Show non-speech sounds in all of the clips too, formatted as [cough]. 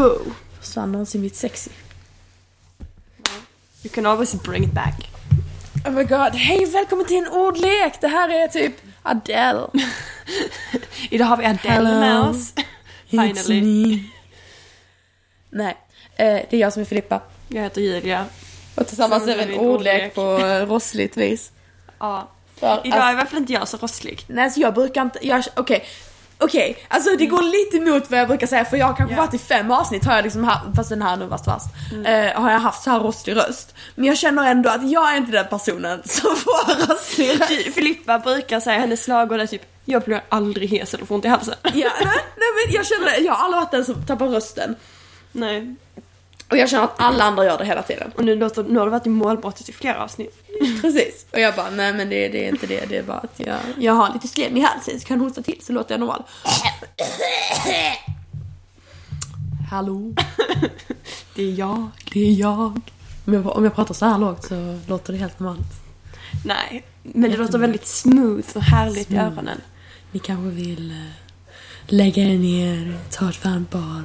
Wow. Fast var någonsin mitt sexy. You can always bring it back. [laughs] Oh my god, hej välkommen till en ordlek! Det här är typ Adele. Idag har vi Adele Hello. med oss. Finally. Nej, eh, det är jag som är Filippa. Jag heter Julia. Och tillsammans Som är vi en en ordlek ordlek. på eh, rossligt vis. Ja. För, Idag är alltså, varför inte jag så rosslig. nej, så jag brukar inte... jag- Okej, okej. Alltså det går lite emot vad jag brukar säga för jag har kanske Ja. Mm. varit i fem avsnitt har jag liksom haft, fast den här nu värst värst, eh, har jag haft så här rosslig röst. Men jag känner ändå att jag är inte den personen som får [laughs] rosslig röst. Du, Filippa brukar säga hennes slagord är typ Jag blir aldrig hes eller får ont i halsen. Ja, [laughs] nej, nej men jag känner, jag har aldrig varit den som tappar rösten. [laughs] Nej. Och jag känner att alla andra gör det hela [laughs] tiden. Och nu, låter, nu har du varit i målbrottet i flera avsnitt. Precis. Och jag bara, nej men det, det är inte det, det är bara att jag, jag har lite slem i halsen så kan jag hosta till så låter jag normal. Hallå, Det är jag. det är jag. Om jag, om jag pratar så här lågt så låter det helt normalt. Nej. Men det låter väldigt smooth och härligt i öronen. Ni kanske vill eh, lägga er ner, ta ett varmt bad,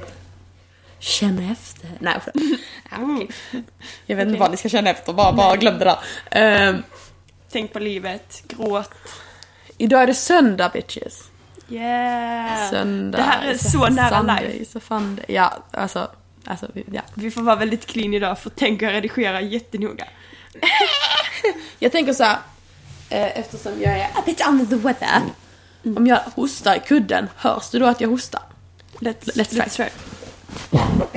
känna efter. Nej, för... Mm. Jag vet inte vad ni ska känna efter, bara, bara glöm det där. Ehm, Tänk på livet, gråt. idag är det söndag bitches. Yeah! Söndag. Det här är så nära live. Så fan, ja, alltså, alltså, vi- ja. Vi får vara väldigt clean idag för tänk att redigera jättenoga. Jag tänker så här, eh, eftersom jag är a bit under the weather. Om jag hostar i kudden, hörs det då att jag hostar? Let's, let's try. [laughs]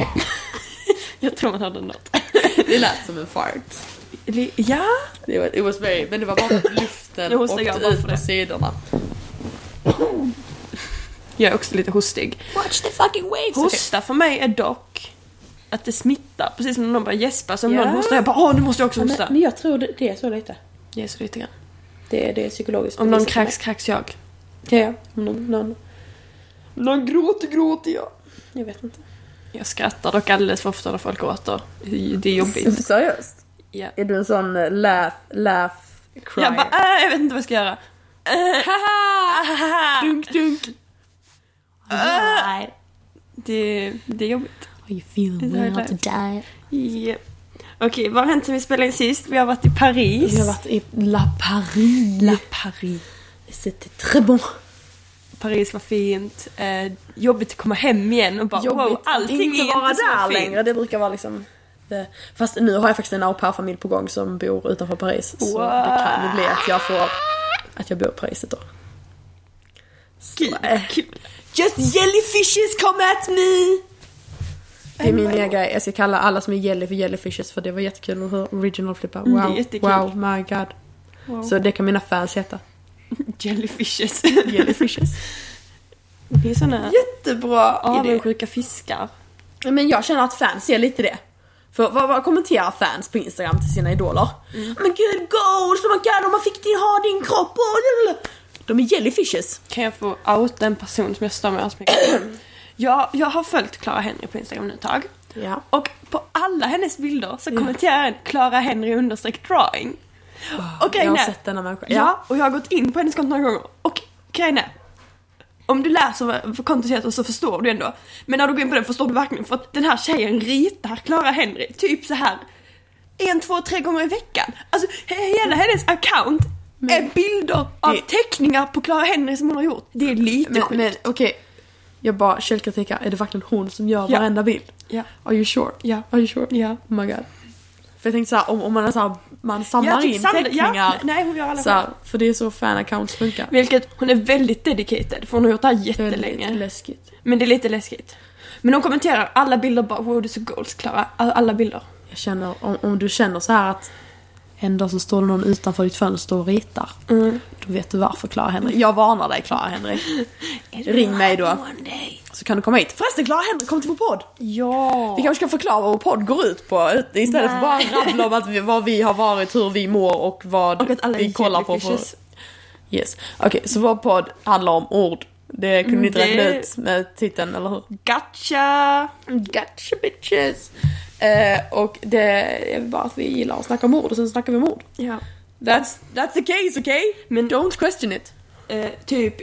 jag tror man hörde något. Det lät som en fart. Eller- Ja! Det var, it was very, men det var bara luften Nu hostar och jag bara ut för på det. sidorna. Jag är också lite hostig. Watch the fucking waves! Hosta för mig är dock att det smittar. Precis som när någon börjar gäspa, så om Ja. någon hostar jag bara åh nu måste jag också Men, hosta. men jag tror det, det är så lite. Jag är så lite grann. Det, är- det är psykologiskt. Om någon bevisat för mig. kräks, kräks jag. Ja, ja. Om någon, någon, Om någon gråter, gråter jag. jag vet inte. Jag skrattar dock alldeles för ofta när folk gråter. Det är [laughs] jobbigt. Seriöst? Ja. Är du en sån eh, laugh, laugh, cry? Jag bara äh, jag vet inte vad jag ska göra. Äh, [laughs] haha. dunk, dunk. Äh. Det, det är jobbigt. Are you feeling well today? Japp. Okej, vad har hänt sen vi spelade in sist? Vi har varit i Paris. Vi har varit i La Paris. La Paris. C'était très bon. Paris var fint. Eh, jobbigt att komma hem igen och bara wow, allting är inte vara så där fint. längre. Det brukar vara liksom... Det. Fast nu har jag faktiskt en au pair-familj på gång som bor utanför Paris. Så Wow. det kan ju bli att jag får... Att jag bor i Paris ett år. Kul, kul. Just jellyfishes come at me! Det är min nya grej. Jag ska kalla alla som är jelly för jellyfishes för det var jättekul att höra original flippa. Wow, Mm, det är jättekul. wow, my god. Wow. Så det kan mina fans heta. [laughs] [laughs] Jellyfishes. Jellyfishes. Det är såna [laughs] Jättebra idé. avundsjuka fiskar. Men jag känner att fans är lite det. För vad, vad kommenterar fans på Instagram till sina idoler? Men gud goals, oh my god, om man fick din, ha din kropp och... De är jellyfishes. Kan jag få outa en person som jag stör mig asmycket på? [clears throat] jag, jag har följt Clara Henry på Instagram nu ett tag. Ja. Och på alla hennes bilder så kommenterar en Clara Henry understreck drawing. Och Jag grejen har är- sett denna människa. Ja. och jag har gått in på hennes konto några gånger och grejen är om du läser vad- vad kontot heter så förstår du ändå. Men när du går in på den förstår du verkligen för att den här tjejen ritar Clara Henry typ så här en, två, tre gånger i veckan. Alltså he- hela hennes account är bilder av Det- teckningar på Clara Henry som hon har gjort. Det är lite Men, sjukt. men okej. Jag bara källkritik här. Är det verkligen hon som gör Ja. varenda bild? Ja. Are you sure? Ja. Are you sure? Ja. Oh my god. För jag tänkte såhär, om, om man, är så här, man samlar Ja, typ in samla- teckningar. ja, nej, hon gör alla så här, själv. För det är så fan-accounts funkar. Vilket hon är väldigt dedicated för hon har gjort det här jättelänge. läskigt. Men det är lite läskigt. Men hon kommenterar alla bilder bara wow du är så goals Clara. Alla, alla bilder. Jag känner, om, om du känner så här att en dag så står det någon utanför ditt fönster och ritar. Då vet du varför Clara Henrik. Mm. Jag varnar dig Clara [laughs] Henrik. Ring mig då. Så kan du komma hit. Förresten Clara Henrik, kom till vår podd. Ja! Vi kanske ska förklara vad vår podd går ut på istället för bara Nej. rabbla om att vi, vad vi har varit, hur vi mår och vad Och att alla vi är kollar på. för- jellyfishes. Yes. Okej, så vår podd handlar om ord. Det kunde ni inte Mm, räkna det- ut med titeln, eller hur? Gotcha! Gotcha bitches! Eh, och det är bara att vi gillar att snacka om ord och sen snackar vi om ord. Ja. That's, that's the case, okay? Men- don't question it. Eh, typ,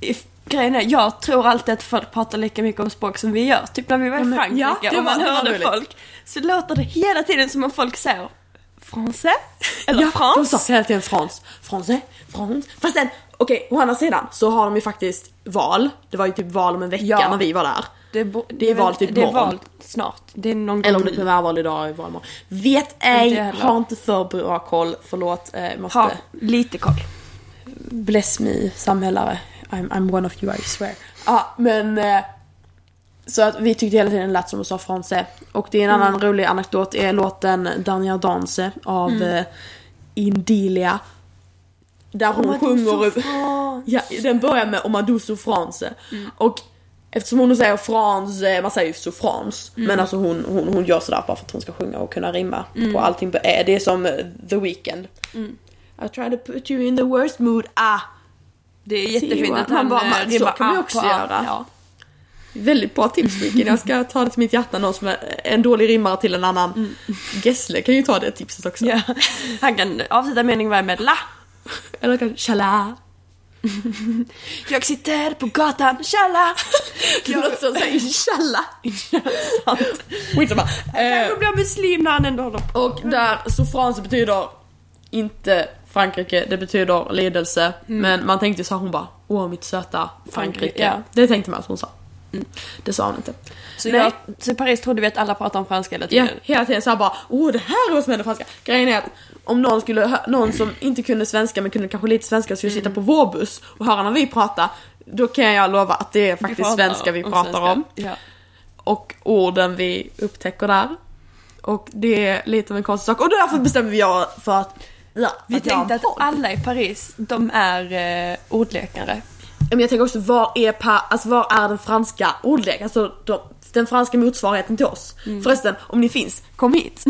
if, Grejen är, jag tror alltid att folk pratar lika mycket om språk som vi gör. Typ när vi var i Ja, men- Frankrike ja, det och man var- det var hörde roligt. folk. Så låter det hela tiden som om folk säger Français? Eller de France? sa hela tiden frans, franse, frans. Fast sen, okej, å andra sidan så har de ju faktiskt val. Det var ju typ val om en vecka Ja. när vi var där. Det är, bo- Det är val typ Det är imorgon. val snart. Det är någon gång Eller om det är nu. primärval idag är valmorgon. Vet ej, heller. har Mm. inte för bra koll. Förlåt, eh, måste... Ha lite koll. Bless me, samhällare. I'm, I'm one of you, I swear. Ja, men... eh, Så att vi tyckte hela tiden det lät som att sa franse. Och det är en annan rolig anekdot är låten Dania Danse av eh, Indilia. Där hon sjunger... upp- Ja, den börjar med Om du så France. Och eftersom hon säger France, man säger ju så France. Men alltså hon, hon, hon gör sådär bara för att hon ska sjunga och kunna rimma på allting. Eh, Det är som eh, The Weeknd. I try to put you in the worst mood, ah. Det är jättefint Johan, att han han bara, eh, men det är så bara kan man ah, också på ah. göra. Ja. Väldigt bra tips Wicken. Jag ska ta det till mitt hjärta. Någon som är en dålig rimmare till en annan. Gessle kan ju ta det tipset också. Ja. Han kan avsluta meningen varje med la. Eller kanske tjala. Jag sitter på gatan, [laughs] tjalla. Det låter som såhär tjalla. Skitsamma. Eh, Kanske blir muslim när han ändå håller på. och där, så France betyder inte Frankrike, det betyder lidelse. Men man tänkte så här, hon bara Åh mitt söta Frankrike. Mm. Ja. Mm. Det tänkte man att hon sa. Det sa hon inte. Så, Nej. jag, så i Paris trodde vi att alla pratar om franska hela Ja, tiden. hela tiden såhär bara Åh det här är vad som händer franska. Grejen är att om någon, skulle, hö- någon som inte kunde svenska men kunde kanske lite svenska skulle Mm. sitta på vår buss och höra när vi pratar. Då kan jag lova att det är Vi faktiskt pratar svenska vi pratar svenska. om. Ja. Och orden vi upptäcker där. Och det är lite av en konstig sak. Och därför bestämmer vi jag för att Ja, Vi jag har tänkte en att podd. alla i Paris, de är eh, ordlekare. Men jag tänker också, var är, pa, alltså, var är den franska ordleken? Alltså de, den franska motsvarigheten till oss. Förresten, om ni finns, kom hit.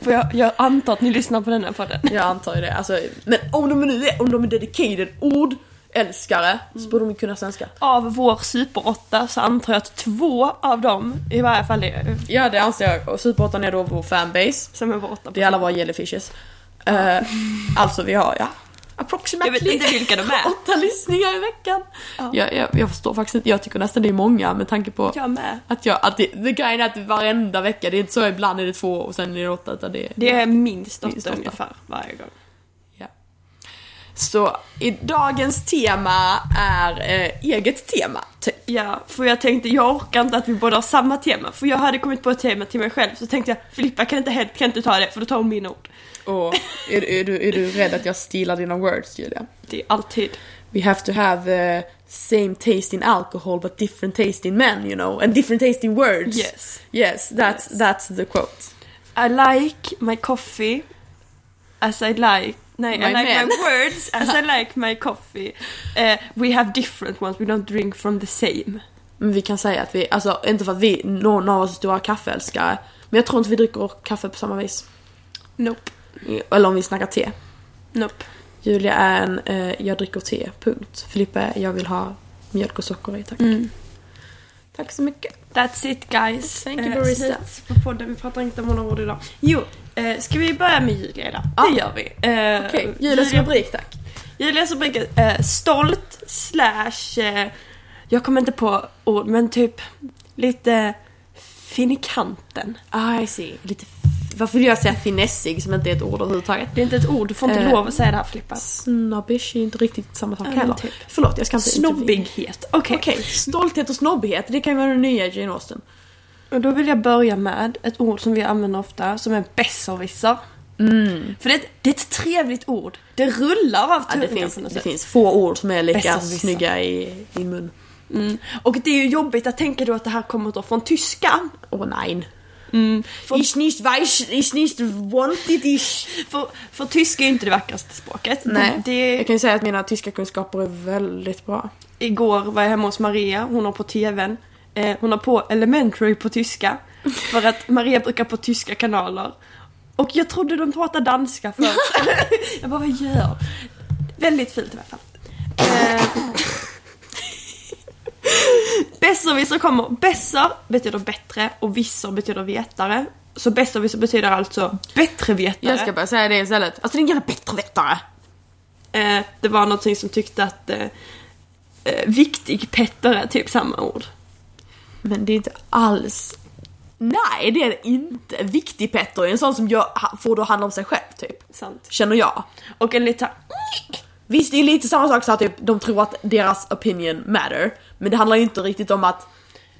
För jag, jag antar att ni lyssnar på den här podden. [laughs] Jag antar ju det. Alltså, men om de nu är, om de är dedicated ordälskare så borde de kunna svenska. Av vår superåtta så antar jag att två av dem i varje fall är, Ja det anser jag. Och Superåttan är då vår fanbase. som är vår åtta. Det är alla våra jellyfishes. Eh, alltså vi har, ja. Approximately. Jag vet inte vilka de är. Åtta lyssningar i veckan. Ja. Jag, jag, jag förstår faktiskt inte, jag tycker nästan det är många med tanke på Jag med. att jag, att det, det grejen är att varenda vecka, det är inte så ibland är det två och sen är det åtta utan det är... Det är minst Minst åtta åtta. ungefär varje gång. Ja. Så i dagens tema är eh, eget tema, typ. Ja, för jag tänkte jag orkar inte att vi båda har samma tema. För jag hade kommit på ett tema till mig själv så tänkte jag Filippa kan inte, helt, kan inte ta det för då tar hon mina ord. Och är, är, du, är du rädd att jag stilar dina words Julia? Det är alltid. We have to have eh, same taste in alcohol but different taste in men you know. And different taste in words. Yes. Yes, that's, that's the quote. I like my coffee as I like... Nej, My I [laughs] like men. my words as I like my coffee. Eh, we have different ones, we don't drink from the same. Men vi kan säga att vi, alltså inte för att vi, någon av oss är stora kaffeälskare. Men jag tror inte vi dricker kaffe på samma vis. Nope. Eller om vi snackar te. Nope. Julia är en, eh, jag dricker te, punkt. Filippa är, jag vill ha mjölk och socker i, tack. Tack så mycket. That's it guys. Thank you, Eh, barista. slut på podden, vi pratar inte om några ord idag. Jo, eh, ska vi börja med Julia idag? Ja. Det gör vi. Eh, Okej, Julias rubrik tack. Julias rubrik är eh, stolt slash... Eh, jag kommer inte på ord, men typ lite finikanten. Ah, I see. Lite f- Varför vill jag säga finessig som inte är ett ord överhuvudtaget? Det är inte ett ord, du får inte Eh, lov att säga det här Filippa. Snobbish är inte riktigt samma sak Ja, heller. typ. Förlåt, jag ska inte... Snobbighet. Okej. Okej, stolthet och snobbighet, det kan ju vara den nya Jane Austen. Och då vill jag börja med ett ord som vi använder ofta som är besserwisser. För det är, ett, det är ett trevligt ord. Mm. Det rullar av Ja, det, tungan finns, på något det sätt. finns få ord som är lika Besserwisser. snygga i din mun. Mm. Och det är ju jobbigt att tänka då att det här kommer då från tyskan. Åh oh, nein. Från- Ich nicht weiß, ich nicht wanted ich. För, för tyska är ju inte det vackraste språket. Nej, Det, jag kan ju säga att mina tyska kunskaper är väldigt bra. Igår var jag hemma hos Maria, hon har på tvn. Eh, hon har på elementary på tyska. För att Maria brukar på tyska kanaler. Och jag trodde de pratade [laughs] danska först. jag bara, vad gör? Väldigt fint i alla fall. Eh, Besserwisser kommer. Besser betyder bättre och visser betyder vetare. Så besserwisser betyder alltså bättre vetare. Jag ska börja säga det istället. Alltså din jävla bättre vetare! Eh, det var någonting som tyckte att eh, eh, viktig petter är typ samma ord. Men det är inte alls... Nej, det är det inte. Viktig Petter är en sån som gör, ha- får det att handla om sig själv, typ. Sant. Känner jag. Och en lite Visst, det är lite samma sak så här, typ, de tror att deras opinion matter. Men det handlar ju inte riktigt om att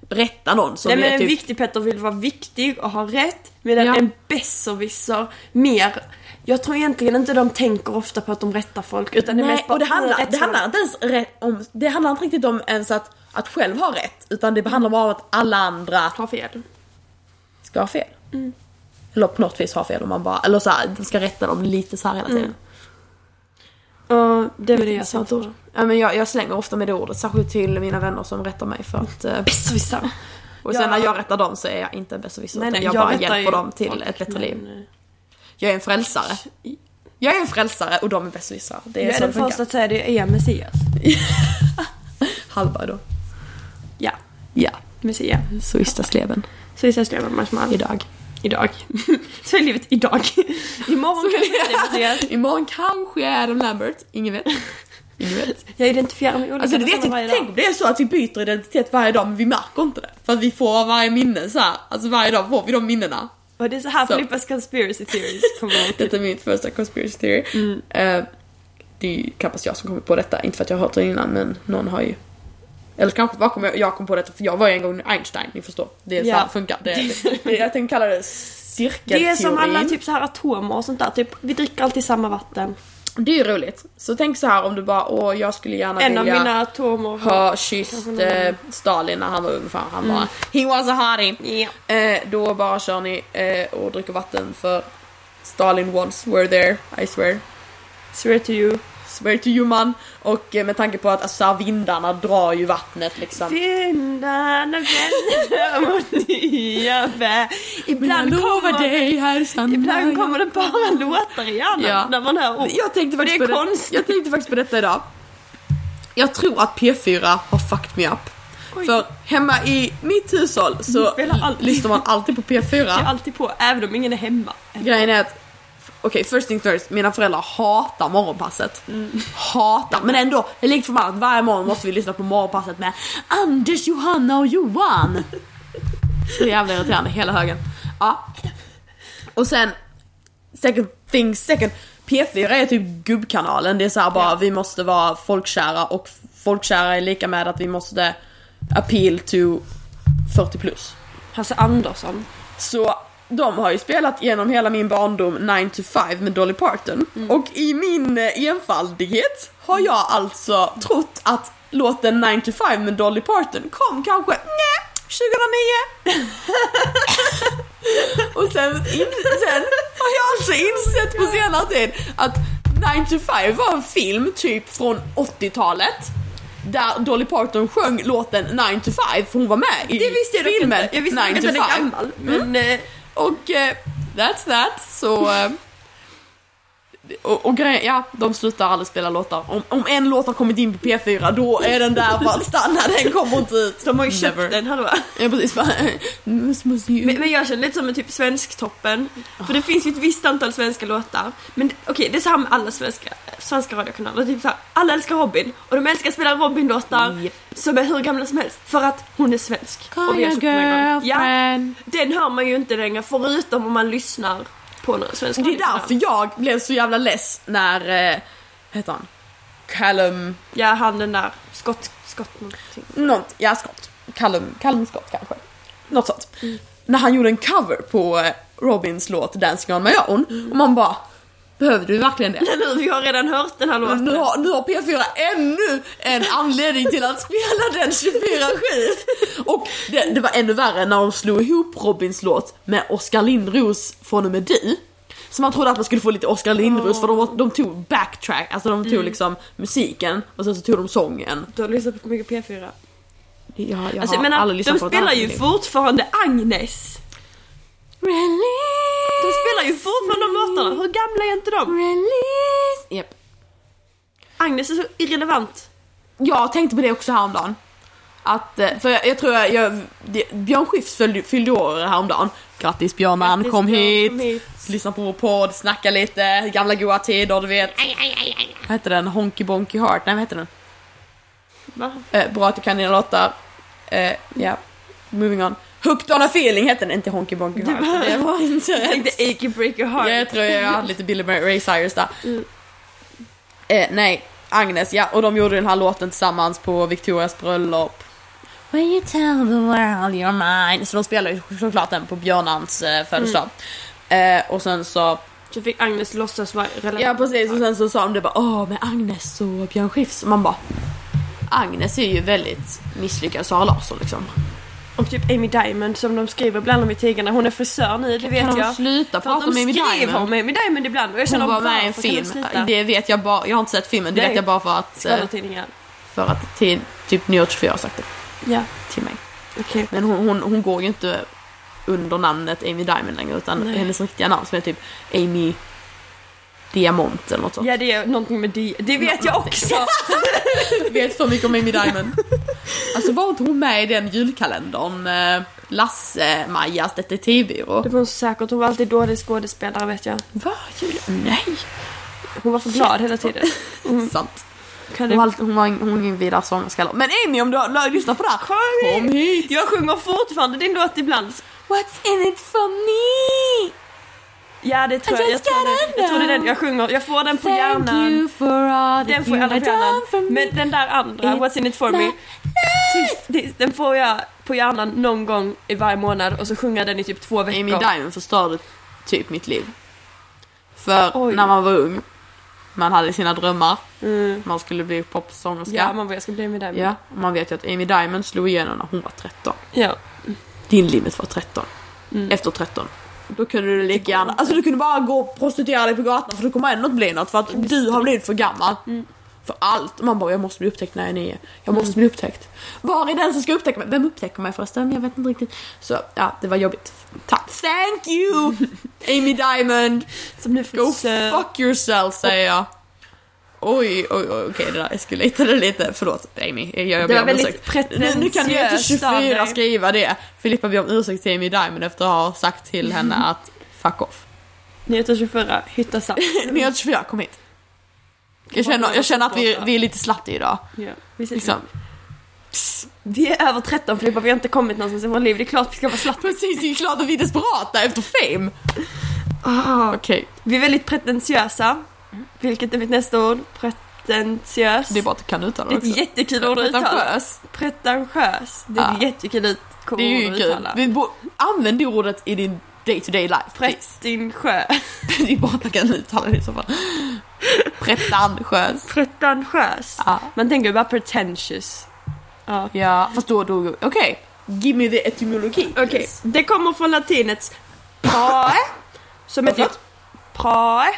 rätta någon som Nej men är en typ... viktig Petter vill vara viktig och ha rätt medan Ja. en besserwisser mer jag tror egentligen inte de tänker ofta på att de rättar folk utan det är Nej, mest bara och det "Åh, handlar, rätt det ska handlar inte ens rätt om... Det handlar inte riktigt om ens att, att själv ha rätt. Utan det handlar bara om att alla andra vara." ha fel. ska ha fel. Eller på något vis ha fel om man bara... Eller så här, den ska rätta dem lite så här hela tiden. Och det är väl det jag sa. ord. Ja, men jag, jag slänger ofta med det ordet, särskilt till mina vänner som rättar mig för att... eh, Besserwisser. Och sen Ja. när jag rättar dem så är jag inte en besserwisser Nej, utan nej, jag, jag bara rättar hjälper ju dem till folk, ett bättre men, liv. eh, Jag är en frälsare. Jag är en frälsare och de är besserwissrar. Det är Jag är så det den funkar. första att säga det är Messias. Halva då. Ja, Ja, Messias. så vistas leben Så vi ses nästa gång. idag. Idag. [laughs] Så är livet idag. [laughs] Imorgon kanske det är Messias. Imorgon kanske är Adam Lambert, ingen vet. Ingen [laughs] vet. Jag identifierar mig olika Alltså du vet, personer varje jag, dag. tänk om det är så att vi byter identitet varje dag men vi märker inte det. För att vi får varje minne så här. alltså varje dag får vi de minnena. Och det är så här Så. Filippas conspiracy theories [laughs] kommer Mm. ut. Detta är min första conspiracy theory. Eh, det är ju knappast jag som kommit på detta, inte för att jag har hört det innan men någon har ju... Eller kanske bakom jag, jag kom på detta för jag var ju en gång Einstein, ni förstår. Det är så Ja. här funkar. Det, det, det, jag tänkte kalla det cirkelteorin. Det är som alla typ så här atomer och sånt där. Typ, vi dricker alltid samma vatten. Det är ju roligt. Så tänk så här om du bara åh jag skulle gärna En av vilja mina atomer har... ha kysst eh, Stalin när han var ung för han bara He was a hottie. Ja. Eh, då bara kör ni eh, och dricker vatten för Stalin once were there, I swear. Swear to you. Swear to you man. Och eh, med tanke på att alltså, så här, vindarna drar ju vattnet liksom. Vindarna vänder mot nya värld. Ibland kommer, dig här stannar ibland kommer det bara låtar i hjärnan Ja. när man hör ord. Jag tänkte faktiskt Det är på det- konstigt. Jag tänkte faktiskt på detta idag. Jag tror att P4 har fucked me up. Oj. För hemma i mitt hushåll Ni så spelar alltid. lyssnar man alltid på P4. Det är alltid på, även om ingen är hemma. Grejen är att, okej first things first, mina föräldrar hatar morgonpasset. Hatar, men ändå, det är likt förbannat, varje morgon måste vi lyssna på morgonpasset med Anders, Johanna och Johan. Så jävla irriterande, hela högen. Ja. Och sen, second thing second, P4 är typ gubbkanalen, det är såhär bara vi måste vara folkkära och folkkära är lika med att vi måste appeal to 40 plus. Hasse Andersson. Så de har ju spelat genom hela min barndom 9 to 5 med Dolly Parton. Mm. Och i min eh, enfaldighet har jag alltså trott att låten 9 to 5 med Dolly Parton kom kanske nej, 2009. [laughs] Och sen, in, sen har jag alltså Oh insett på senare tid att 9 to 5 var en film typ från 80-talet. Där Dolly Parton sjöng låten 9 to 5 för hon var med i Det visste jag dock filmen inte. Jag visste 9 inte att to den är 5. gammal. Men eh, Och eh, that's that. Så... eh, och, och grejen, ja, de slutar aldrig spela låtar. Om, om en låt har kommit in på P4 då är den där för att stanna, den kommer inte ut. de har ju köpt Never. den, hallå. Ja precis, bara... This was you. Men, men jag känner lite som en typ Svensktoppen. Ah. För det finns ju ett visst antal svenska låtar. Men okej, det är så här med alla svenska, svenska radiokanaler. Typ så här, alla älskar Robin och de älskar att spela Robin-låtar Japp. som är hur gamla som helst. För att hon är svensk. Call vi your har köpt den här gången. Ja, girlfriend. den hör man ju inte längre förutom om man lyssnar på några svenska Det är radiokanaler. därför jag blev så jävla less när... Eh, vad heter han? Callum... Ja, han den där skott, skott någonting. Nånt, ja, Scott. Callum, Callum Scott kanske. Något sånt. När han gjorde en cover på eh, Robins låt Dancing on my own och man bara Behövde du verkligen det? Nu, vi har redan hört den här låten. Nu har, nu har P4 ännu en anledning till att spela den 24-7. Och det, det var ännu värre när de slog ihop Robins låt med Oskar Lindros från och med du. Så man trodde att man skulle få lite Oskar Lindros för de, de tog backtrack, alltså de tog liksom musiken och sen så tog de sången. Du har lyssnat på för mycket P4. Jag, jag Alltså, har jag menar, aldrig lyssnat de på något spelar annat ju än det. fortfarande Agnes. De Release, spelar ju fortfarande de låtarna. Hur gamla är inte de? release. Japp. Agnes är så irrelevant. Jag tänkte på det också häromdagen. Att, eh, för jag, jag tror jag, jag det, Björn Skifs fyllde, fyllde år häromdagen. Grattis Björnan, Grattis, kom, Björn, hit. kom hit. Lyssna på vår podd, snacka lite, gamla goa tider du vet. Vad hette den? Honky Bonky Heart? Nej vad hette den? Va? Eh, bra att du kan dina låtar. Eh, Ja, moving on. Hooked on a feeling hette den, inte Honky Bonky Heart. var- Det var [laughs] inte Jag rätt. tänkte achy break your heart. Ja, jag tror jag hade lite Billy Ray Cyrus där. Eh, nej, Agnes, ja. Och de gjorde den här låten tillsammans på Victorias bröllop. When you tell the world you're mine. Så de spelade ju såklart den på Björnans eh, födelsedag. Eh, och sen så... Så fick Agnes låtsas vara relevant. Ja precis, och sen så sa de det bara Åh, med Agnes och Björn Skifs. Och man bara... Agnes är ju väldigt misslyckad Sara Larsson liksom. Och typ Amy Diamond som de skriver ibland om i Tigarna. Hon är frisör nu, det vet Kan de jag. sluta För att prata om Amy De skriver Diamond? om Amy Diamond ibland och jag känner Hon var varför med i en kan de film. sluta? Det vet jag bara. Jag har inte sett filmen, det Nej. vet jag bara för att... Eh, Skvallertidningar. För att till, typ New York 24 har sagt det Ja, till mig. okej. Men hon, hon, hon går ju inte under namnet Amy Diamond längre utan Nej. hennes riktiga namn som är typ Amy Diamant eller något sånt. Ja, det är någonting med det. Det vet jag också! Jag vet så mycket om Amy Diamond. [laughs] Alltså var inte hon med i den julkalendern? eh, Lasse-Majas detektivbyrå? Det var hon säkert. Hon var alltid dålig skådespelare vet jag. Va? Jul? Nej! Hon var för glad hela tiden. Sant. Kan Hon var, du... allt- hon var, ing- hon var ingen vidare sångerska heller. Men Amy om du har lyssnat på det här. Kom hit. hit! Jag sjunger fortfarande din låt ibland. What's in it for me? Ja, det tror I jag. Jag just tror gotta det, jag tror det är den jag sjunger. Jag får den på Thank hjärnan. you for all Den that får jag you alla have på hjärnan. done for me. Men den där andra, It's What's in it for me. my- Precis, Den får jag på hjärnan någon gång i varje månad och så sjunger jag den i typ två veckor. Amy Diamond förstörde typ mitt liv. För Oj. när man var ung, man hade sina drömmar, Mm. man skulle bli popsångerska. Ja, man bara, jag ska bli Amy Diamond. Ja, och man vet ju att Amy Diamond slog igenom när hon var 13. Ja. Din limit var 13. Efter 13. Mm. Då kunde du lika gärna, alltså du kunde bara gå och prostituera dig på gatan för du kommer ändå inte bli något för att du har blivit för gammal. För allt. Man bara jag måste bli upptäckt när jag är nio. Jag måste bli upptäckt. Var är den som ska upptäcka mig? Vem upptäcker mig förresten? Jag vet inte riktigt. Så ja, det var jobbigt. Tack. Thank you! [laughs] Amy Diamond! Som nu Go finns... eh, fuck yourself säger jag. Oj, oj, oj, okej det där eskalerade lite. Förlåt Amy, jag jag Det ber var om väldigt ursäkt. Nu, nu kan du inte pretentiöst 24 av dig. skriva det. Filippa ber om ursäkt till Amy Diamond efter att ha sagt till henne att fuck [laughs] off. Nyheter 24, [laughs] hytta sant. Ni har 24, kom hit. Jag känner, jag känner att vi, vi är lite slatt idag. Ja, vi, ses. Liksom. vi är över 13 Filippa, vi har inte kommit någonstans i vårt liv. Det är klart vi ska vara slapp. Precis, det är ju klart att vi är desperata efter fame. Ah, Okej, Vi är väldigt pretentiösa. Vilket är mitt nästa ord? Pretentiös. det är bara att du kan uttala Det det är ett också. jättekul ord att uttala. Pretentiös. Pretentiös. Det är ett Ja. jättekul ut- ord Det är ju att kul. uttala. Vi bo- Använd det ordet i din day to day life. Precis. Pretentiös. [laughs] [laughs] Det är bara att man kan uttala det i så [laughs] fall. Pretentiös. Ah. Pretentiös. Ja. Man tänker ju bara pretentious. Ja. ja, fast då dog... Okej. Give me the etymologi. Okej, det kommer från latinets prae. Som är typ Varför? prae.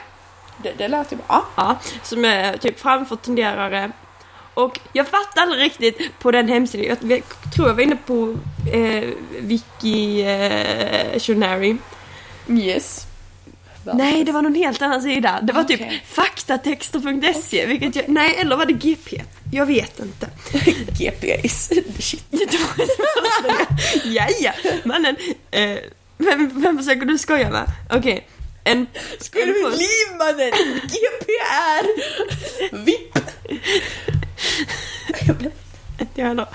Det, det lät ju bra. Ja, som är typ framför tenderare. Och jag fattar aldrig riktigt på den hemsidan. Jag tror jag var inne på eh, Wiki eh, Journary. Yes. Nej, det var någon helt annan sida. Det var typ Okej. faktatexter.se. E, Vilket jag, nej, eller var det GP? Jag [laughs] vet inte. GP is the [laughs] shit. ja, ja. Mannen, eh, vem, vem försöker du skoja med? Okej. En... Skulle en vi post- liv mannen? GP är... VIP. Ja, hallå.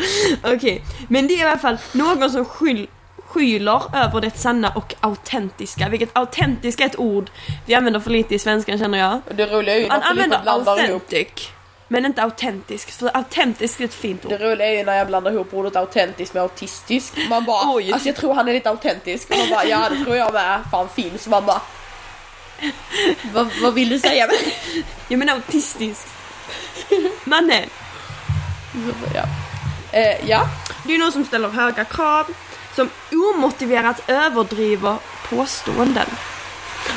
Okej, men det är i alla fall någon som skyl, skyler över det sanna och autentiska. Vilket autentiska är ett ord vi använder för lite i svenskan känner jag. Det roliga är ju Man när Filippa använder blandar ihop... authentic, men inte autentisk. För autentisk är ett fint ord. Det roliga är ju när jag blandar ihop ordet autentisk med autistisk. Man bara, Oj. alltså jag tror han är lite autentisk. Och man bara, ja det tror jag med. Fan finns. Man bara... Vad, vad vill du säga med Jag menar autistisk. Mannen, [laughs] Ja. Eh, ja. det är någon som ställer höga krav, som omotiverat överdriver påståenden.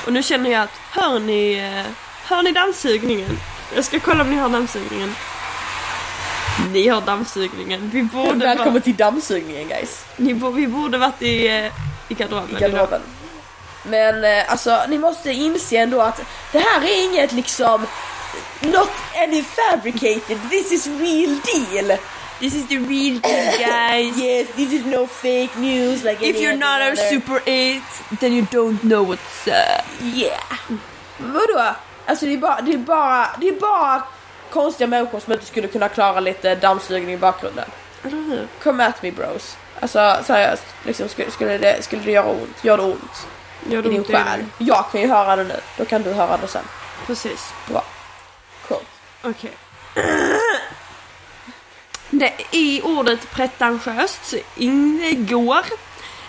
Och nu känner jag att, hör ni, eh, hör ni dammsugningen? Jag ska kolla om ni hör dammsugningen. Ni hör dammsugningen. Vi borde, Välkommen va, till dammsugningen guys. ni, bo- vi borde varit i, eh, i garderoben. I idag. garderoben. Men eh, alltså ni måste inse ändå att det här är inget liksom Not any fabricated, this is real deal! This is the real thing guys. Yes, this is no fake news like If any you're not other. our super 8, then you don't know what's eh, up. Yeah! Vadå? Alltså det är bara, det är bara, det är bara konstiga människor som inte skulle kunna klara lite dammsugning i bakgrunden. Eller hur? Come at me bros. Alltså seriöst, liksom, skulle, skulle, det, skulle det göra ont? Gör det ont? Gör det I din ont i ögonen? själ? Jag kan ju höra det nu, då kan du höra det sen. Precis. Bra. Cool. Okej. Det, I ordet pretentiöst så ingår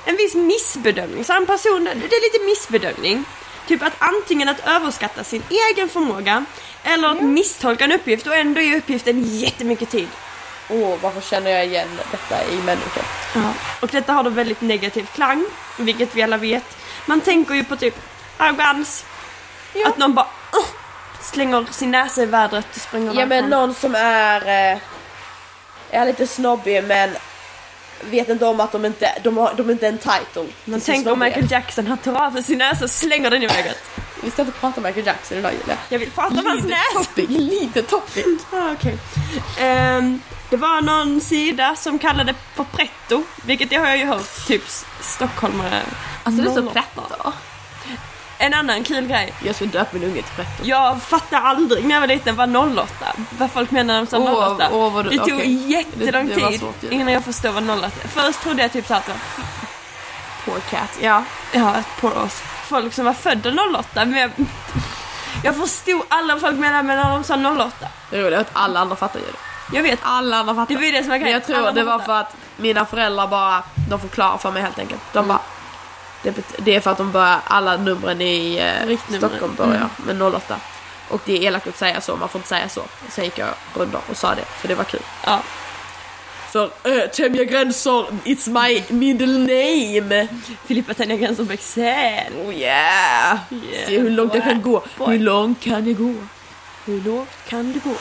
en viss missbedömning. Så en person, det är lite missbedömning. Typ att antingen att överskatta sin egen förmåga eller att misstolka en uppgift och ändå ge uppgiften jättemycket tid. Åh, varför känner jag igen detta i människor? Och detta har då väldigt negativ klang, vilket vi alla vet. Man tänker ju på typ arrogans. Ja. Att någon bara "Åh", slänger sin näsa i vädret och springer Ja men därifrån. någon som är, eh, är lite snobbig men vet inte om att de inte, de har, de är inte entitled. Man till sin tänker om snobbighet. Michael Jackson, han tar av sig sin näsa och slänger den i vägret. Vi ska inte prata om Michael Jackson idag Julia. Jag vill prata om hans Lite näsa! topic, lite topic. Ah, okej. Ehm, det var någon sida som kallade det för pretto, vilket det har jag ju hört typ s- stockholmare. Alltså det är så Noll. pretto. En annan kul grej. Jag skulle döpa min unge till pretto. Jag fattade aldrig när jag var liten vad 08, vad folk menar när de sa 08. åh, vad du- det tog okej. jättelång Det- det var tid svårt ju. innan jag förstod vad 08 Först trodde jag typ såhär att det var Poor cat. Ja. Ja, på oss. Folk som var födda 08. Men jag, jag förstod alla vad folk menade med när de sa 08. Det roliga är att alla andra fattar ju det. Jag vet. Alla andra fattar. Det var ju det som var Men grejen. jag tror Alla det var fattar. för att mina föräldrar bara, de förklarar för mig helt enkelt. De bara, det, bet- det är för att de börjar, alla numren i eh, Riktnumren. Stockholm börjar med 08. Och det är elakt att säga så, man får inte säga så. Sen gick jag under och sa det, för det var kul. Ja. För äh, tämja gränser, it's my middle name! Filippa tänjer gränsen på Excel. Oh yeah! Yeah. Se hur långt jag kan gå, Boy. hur långt kan jag gå? Hur lågt kan det gå?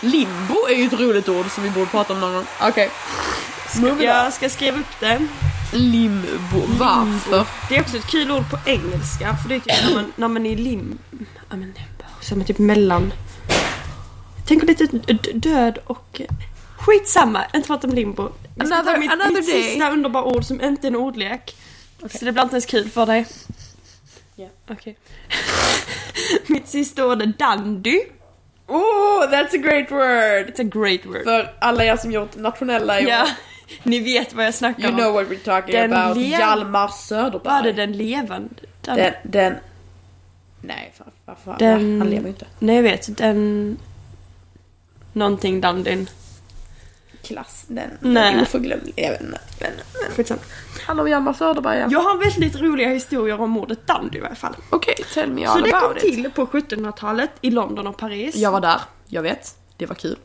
Limbo är ju ett roligt ord som vi borde prata om någon gång. Okej. Moving on. Jag ska skriva upp det. Limbo, varför? Det är också ett kul ord på engelska. För det är typ när man, när man är i lim... Ja men så är man typ mellan... Jag tänker lite typ d- d- död och... Skitsamma, inte prata om limbo. Jag ska Another- ta mitt, another mitt day. sista underbara ord som inte är en ordlek. Så det blir inte ens kul för dig. Ja. Okej. [laughs] mitt sista ord är dandy. Oh, that's a great word! It's a great word. För alla er som gjort nationella i Ja, år, ni vet vad jag snackar you om. know what we're talking Den about. lev- Hjalmar Var Söderberg. det den levande? Den, den, den... Nej, fan, fan, fan. Den- Ja, han lever ju inte. Nej jag vet, den... Någonting Dandin. Klass, den Nej. den är oförglömlig. Jag vet inte. Men, men. Skitsamma. Han om Hjalmar Söderberg, ja. Jag har väldigt roliga historier om mordet Dandy i alla fall. Okej, tell me Så all det kom about it. till på 1700-talet i London och Paris. Jag var där, jag vet. Det var kul.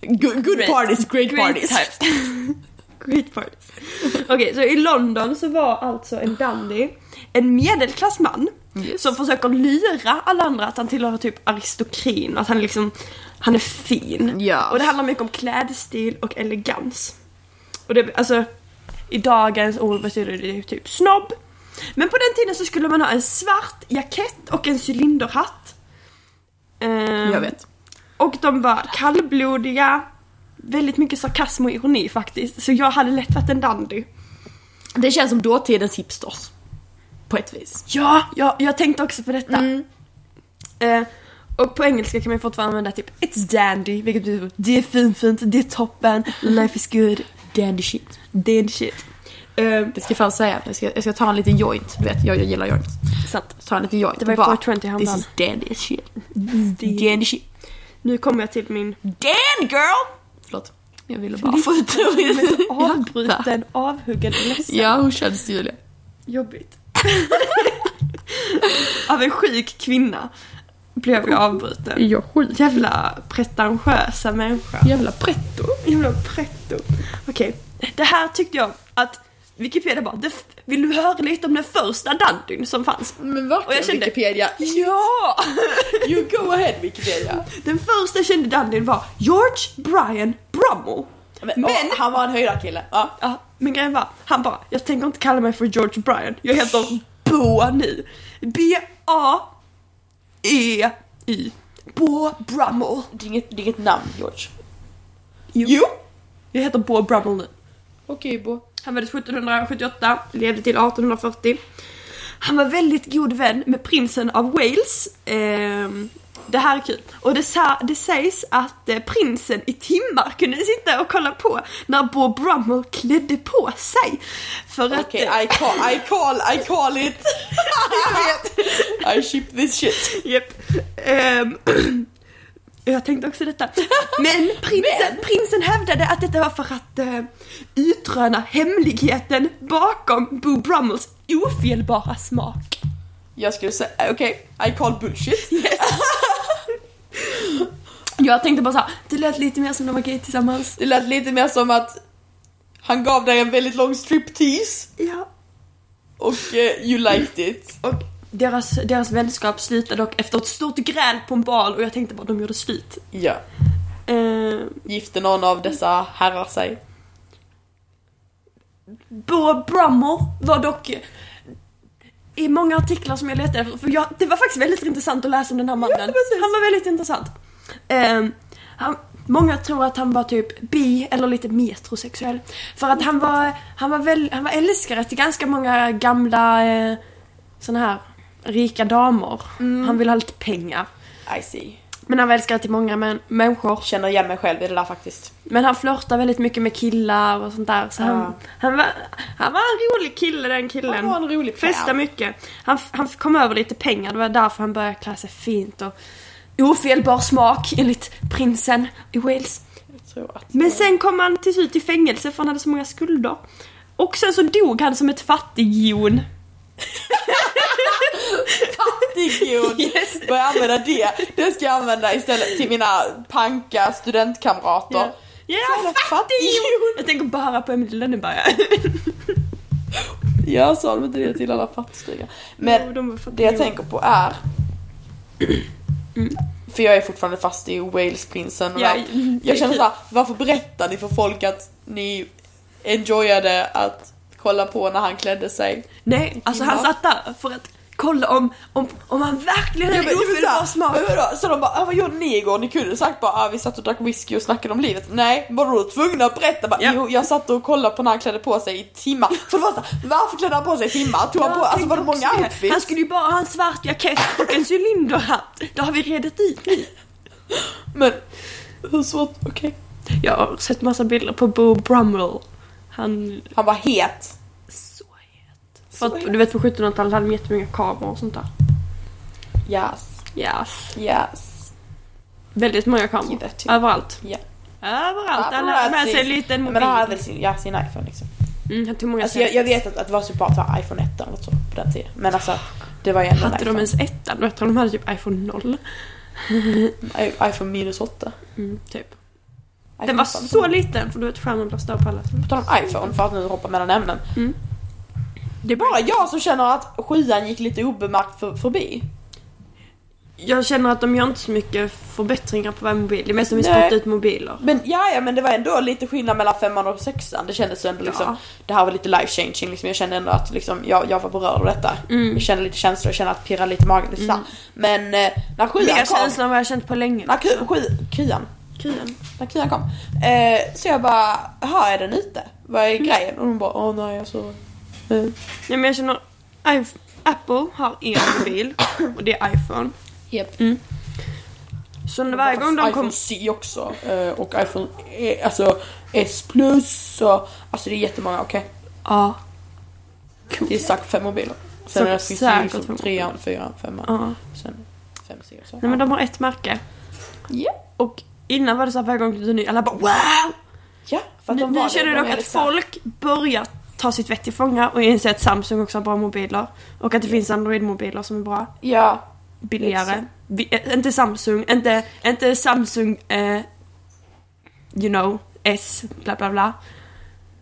Good, good Great. parties, great, parties. [laughs] times. Great parties. [laughs] Okej, så i London så var alltså en dandy en medelklassman Yes. som försöker lyra alla andra att han tillhör typ aristokrin, att han liksom, han är fin. Ja. Och det handlar mycket om klädstil och elegans. Och det, alltså, i dagens ord betyder det typ snobb. Men på den tiden så skulle man ha en svart jackett och en cylinderhatt. Ehm, Jag vet. och de var kallblodiga, väldigt mycket sarkasm och ironi faktiskt. Så jag hade lätt varit en dandy. Det känns som dåtidens hipsters. På ett vis. Ja, jag, jag tänkte också på detta. Eh, och på engelska kan man ju fortfarande använda typ It's dandy, vilket betyder det är fint, fint, det är toppen, life is good, Dandy shit. det är the shit. Eh, Det ska jag fan säga. Jag ska, jag ska ta en liten joint. Du vet, jag, jag gillar joints. sant. Så ta en liten joint. Det var ju Bara, 420 This häromdagen. is dandy as shit. Dandy shit. Nu kommer jag till min Dan girl! Förlåt. Jag ville bara få ut det. avbruten, avhuggen och ledsen. Ah. Ja, hur känns det Julia? Jobbigt. [laughs] Av en sjuk kvinna blev jag avbruten. Jag skit. Jävla pretentiösa människa. Jävla pretto. Jävla pretto. Okej, det här tyckte jag att Wikipedia bara, "Det f- vill du höra lite om den första dandyn som fanns? Men Och jag verkligen kände- Wikipedia. Ja! You go ahead Wikipedia. Den första jag kände dandyn var George Brian Brummel. Men, åh, han var en höjdarkille. Ja. Ja, men grejen var, han bara, jag tänker inte kalla mig för George Bryan. Jag heter Boa nu. B-A-E-Y. Bo Brummel. Det är inget, det är inget namn George. Jo. Jag heter Bo Brummel nu. Okej Bo. Han föddes 1778, levde till 1840. Han var väldigt god vän med prinsen av Wales, ehm, Det här är kul. Och det, sa, det sägs att eh, prinsen i timmar kunde sitta och kolla på när Bob Brummel klädde på sig. För att... Okej, eh, I, call, I call, I call it! [laughs] I ship this shit. eh, Japp. Ehm, [clears throat] jag tänkte också detta. [laughs] Men prinsen, prinsen hävdade att detta var för att eh, utröna hemligheten bakom Bo Brummels ofelbara smak. Jag skulle säga, okej, I call bullshit. Jag tänkte bara såhär, det lät lite mer som de var gay tillsammans. Det lät lite mer som att han gav dig en väldigt lång striptease Ja. och eh, you liked it. Och deras, deras vänskap slutade dock efter ett stort gräl på en bal och jag tänkte bara, de gjorde slut. Ja. Ehm, Gifte någon av dessa herrar sig? Bob Brummel var dock i många artiklar som jag letade efter, för jag, det var faktiskt väldigt intressant att läsa om den här mannen. precis. han var väldigt intressant. Ehm, han, många tror att han var typ bi eller lite metrosexuell. För att han var, han var, väl, han var älskare till ganska många gamla eh, såna här rika damer. Han ville ha lite pengar. I see. Men han var älskare till många män, människor. Känner igen mig själv i det där faktiskt. Men han flörtar väldigt mycket med killar och sånt där. Så han, Ja. han, var, han var en rolig kille den killen. Han var en rolig pär. Festade mycket. Han, han kom över lite pengar, det var därför han började klä sig fint och ofelbar smak enligt prinsen i Wales. Jag tror att... Men sen kom han till slut i fängelse för han hade så många skulder. Och sen så dog han som ett fattighjon. [laughs] Fattighjon! Yes. Börja använda det. Det ska jag använda istället till mina panka studentkamrater. Ja, Jävla fattighjon! Jag tänker bara på Emil i Lönneberga. Ja, sa de inte det till alla fattigstuga? Men Jo, [laughs] de var det jag fattighjon. tänker på [clears throat] är... För jag är fortfarande fast i Walesprinsen. och Ja, allt. [laughs] jag känner såhär, varför berättar ni för folk att ni enjoyade att kolla på när han klädde sig? Nej, alltså han Ja. satt där för att kolla om, om, om han verkligen hade ofelbar smak. men vadå? Så de bara, ah, vad gjorde ni igår? Ni kunde sagt bara, ah, vi satt och drack whisky och snackade om livet. Nej, var du tvungna att berätta? Bara, Ja. Jo, jag satt och kollade på när han klädde på sig i timmar. För det första, varför klädde han på sig i timmar? Tog han på, alltså var det Jag tänkte många också det. outfits? Han skulle ju bara ha en svart jackett och en cylinderhatt. Det har vi redat ut nu. Men hur svårt, okej. Jag har sett massa bilder på Bo Brummel. Han... Han var het. Så het. För att, Så het. du vet på 1700-talet hade de jättemånga kameror och sånt där. Yes, Ja. yes. Väldigt många kameror. Give it to- Överallt. Ja. typ. Överallt. Alla hade med sig en liten mobil. Men han hade väl sin, ja, sin iPhone liksom. Mm, han tog många Alltså jag, jag vet selfies. att, att det var så bra att ha iPhone 1 eller så på den tiden. Men alltså, det var ju ändå liksom en Hade de iPhone. ens ettan? Jag tror de hade typ iPhone 0. I- iPhone minus 8. Mm, typ. Den iPhone var 15. så liten för du vet skärmen blir större på alla. På tal om iPhone, för att nu hoppa mellan ämnen. Det är Bara jag som känner att sjuan gick lite obemärkt för, förbi. Jag känner att de gör inte så mycket förbättringar på varje mobil. Det är mest som vi Nej. spottar ut mobiler. Men ja, ja, men det var ändå lite skillnad mellan femman och sexan. Det kändes ändå liksom, Ja. det här var lite life changing liksom. Jag kände ändå att liksom, jag, jag var berörd av detta. Mm. Jag kände lite känslor, jag kände att det pirrade lite i magen. Lite sådär. Men eh, när sjuan Mer kom, känsla än vad jag känt på länge. när ku, sju, kuan, Kryan. när kuan kom. Eh, så jag bara, här är den ute? Vad är grejen? Och hon bara, åh nej alltså. Eh, Nej men jag känner... I've, Apple har en mobil och det är iPhone. Japp. Alltså, Så när varje gång de iPhone kom... C också eh, och iPhone eh, alltså S plus och alltså det är jättemånga okej. Ja. Det är sagt fem mobiler. Så Sen är det säkert finns fem liksom trean, fyran, femman. ja. Sen fem C och så. Nej men de har ett märke. Ja. Och innan var det så här varje gång det kom en ny, alla bara wow! Ja, för att Nu, de var nu det. känner jag De dock är att lite så här- folk börjar ta sitt vett till fånga och inser att Samsung också har bra mobiler. Och att det finns Android-mobiler som är bra. Ja. billigare. Exakt. Vi, eh, inte Samsung, inte, inte Samsung, eh, you know, S, bla bla bla.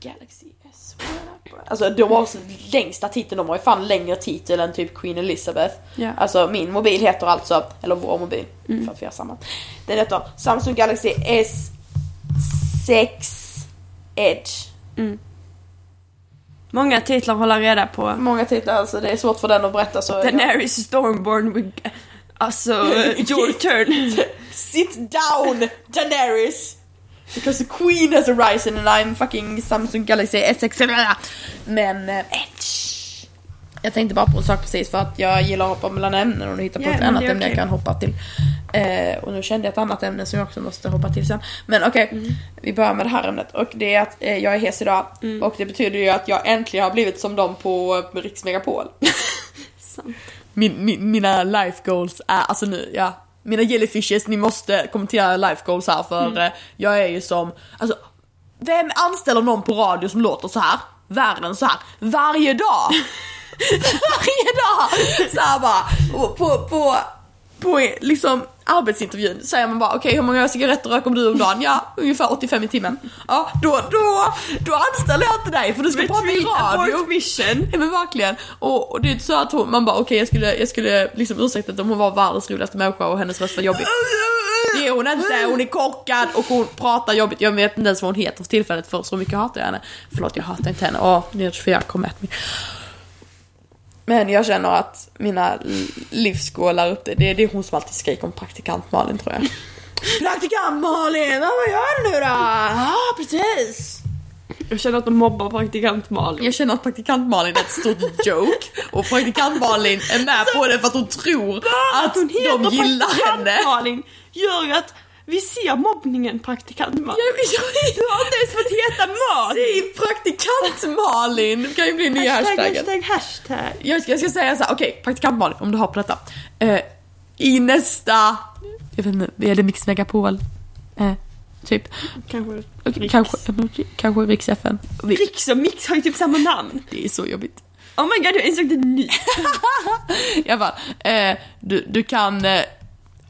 Galaxy S. Alltså de Mm. har också längsta titeln, de har ju fan längre titel än typ Queen Elizabeth. Ja. Alltså min mobil heter alltså, eller vår mobil, för att vi har samma. Den heter Samsung Galaxy S6 Edge. Mm. Många titlar håller reda på. Många titlar alltså, det är svårt för den att berätta så... Daenerys Stormborn, with, [laughs] alltså, eh, your turn. Sit down Daenerys! Because the queen has arisen and I'm fucking Samsung Galaxy S6 Men... eh, Edge. Jag tänkte bara på en sak precis för att jag gillar att hoppa mellan ämnen och nu hittar på Ja, ett men annat det är ämne jag okej. kan hoppa till. Eh, och nu kände jag ett annat ämne som jag också måste hoppa till sen. Men okej, Mm. vi börjar med det här ämnet. Och det är att eh, jag är hes idag. Mm. Och det betyder ju att jag äntligen har blivit som dem på eh, Rix [laughs] Megapol. Sant. Min, min, mina life goals är, alltså nu, ja. Mina jellyfishes, ni måste kommentera life goals här för eh, jag är ju som, alltså vem anställer någon på radio som låter så här? Värre än så här. Varje dag! Varje dag! Så här bara. Och på, på, på liksom arbetsintervjun säger man bara okej hur många cigaretter röker du om dagen? Ja, ungefär 85 i timmen. Ja, då, då, då anställer jag inte dig för du ska prata i radio. [laughs] Abort mission. Ja men verkligen. Och, och det är inte så att hon, man bara okej jag skulle, jag skulle liksom ursäkta om hon var världens roligaste människa och hennes röst var jobbig. Det är hon inte, hon är korkad och hon pratar jobbigt. Jag vet inte ens vad hon heter för tillfället för så mycket hatar jag henne. Förlåt jag hatar inte henne, åh 924 kom at me. Men jag känner att mina l- livsskålar upp det, det är det är hon som alltid skriker om praktikant Malin tror jag. Praktikant Malin, "Ja, vad gör du nu då? Ja ah, precis. Jag känner att de mobbar praktikant Malin. Jag känner att praktikant Malin är ett stort joke och praktikant Malin är med på det för att hon tror att hon de gillar praktikant henne. Malin gör ju att vi ser mobbningen praktikant Malin. Du har inte ens fått heta Malin! Säg praktikant Malin! Det kan ju bli nya Hashtag, hashtaggen. hashtag, hashtag. Jag ska, jag ska säga så här, okej, praktikant Malin, om du har på detta. Eh, I nästa... Jag vet inte, är det Mix Megapol? Eh, typ. Kanske. Okej, Kanske, kanske Rix FN. Vi- Riks och Mix har ju typ samma namn. Det är så jobbigt. Oh my god, du har insåg det nu. [laughs] I alla fall, eh, du, du kan eh,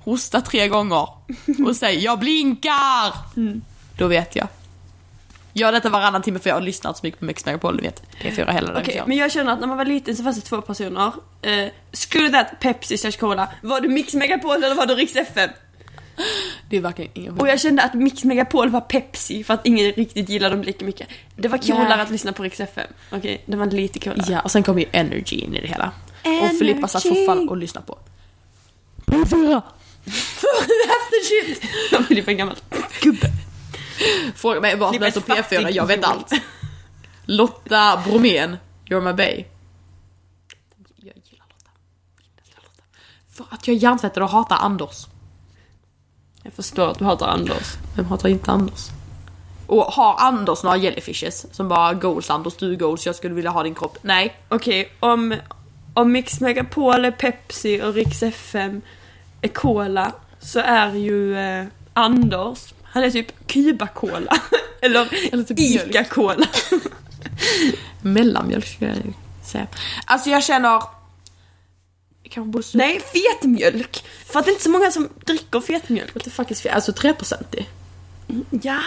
hosta tre gånger och säga jag blinkar! Då vet jag. Gör detta varannan timme för jag har lyssnat så mycket på Mix Megapol, du vet. P4 hela den Okej, tiden. men jag känner att när man var liten så fanns det två personer. Eh, skulle det Pepsi slash Cola, var du Mix Megapol eller var du Rix FM? Det är verkligen ingen Och skillnad. jag kände att Mix Megapol var Pepsi för att ingen riktigt gillade dem lika mycket. Det var coolare Nej. att lyssna på Rix FM. Okej, det var lite coolare. Ja, och sen kommer ju Energy in i det hela. Och Energy. Filippa satt för fan och lyssnade på. P4! [laughs] That's the shit! Jag blev en gammal gubbe. Fråga mig vad som Filippa helst om är fattig P4, jag vet idiot. allt. Lotta Bromén, You're My Bay. Jag gillar Lotta. Jag gillar Lotta. För att jag är hjärntvättad och hatar Anders. Jag förstår att du hatar Anders. Vem hatar inte Anders? Och har Anders några jellyfishes som bara goals Anders, du är goals, jag skulle vilja ha din kropp. Nej. Okej, om, om Mix Megapol är Pepsi och Rix FM är Cola så är ju eh, Anders, han är typ Cuba-Cola. [laughs] Eller, Eller typ Ica-Cola. Mellanmjölk skulle jag säga. Alltså jag känner... Jag kanske borde sluta. Nej, fetmjölk! För att det är inte så många som dricker fetmjölk. What the fuck is fe- Alltså 3% Ja.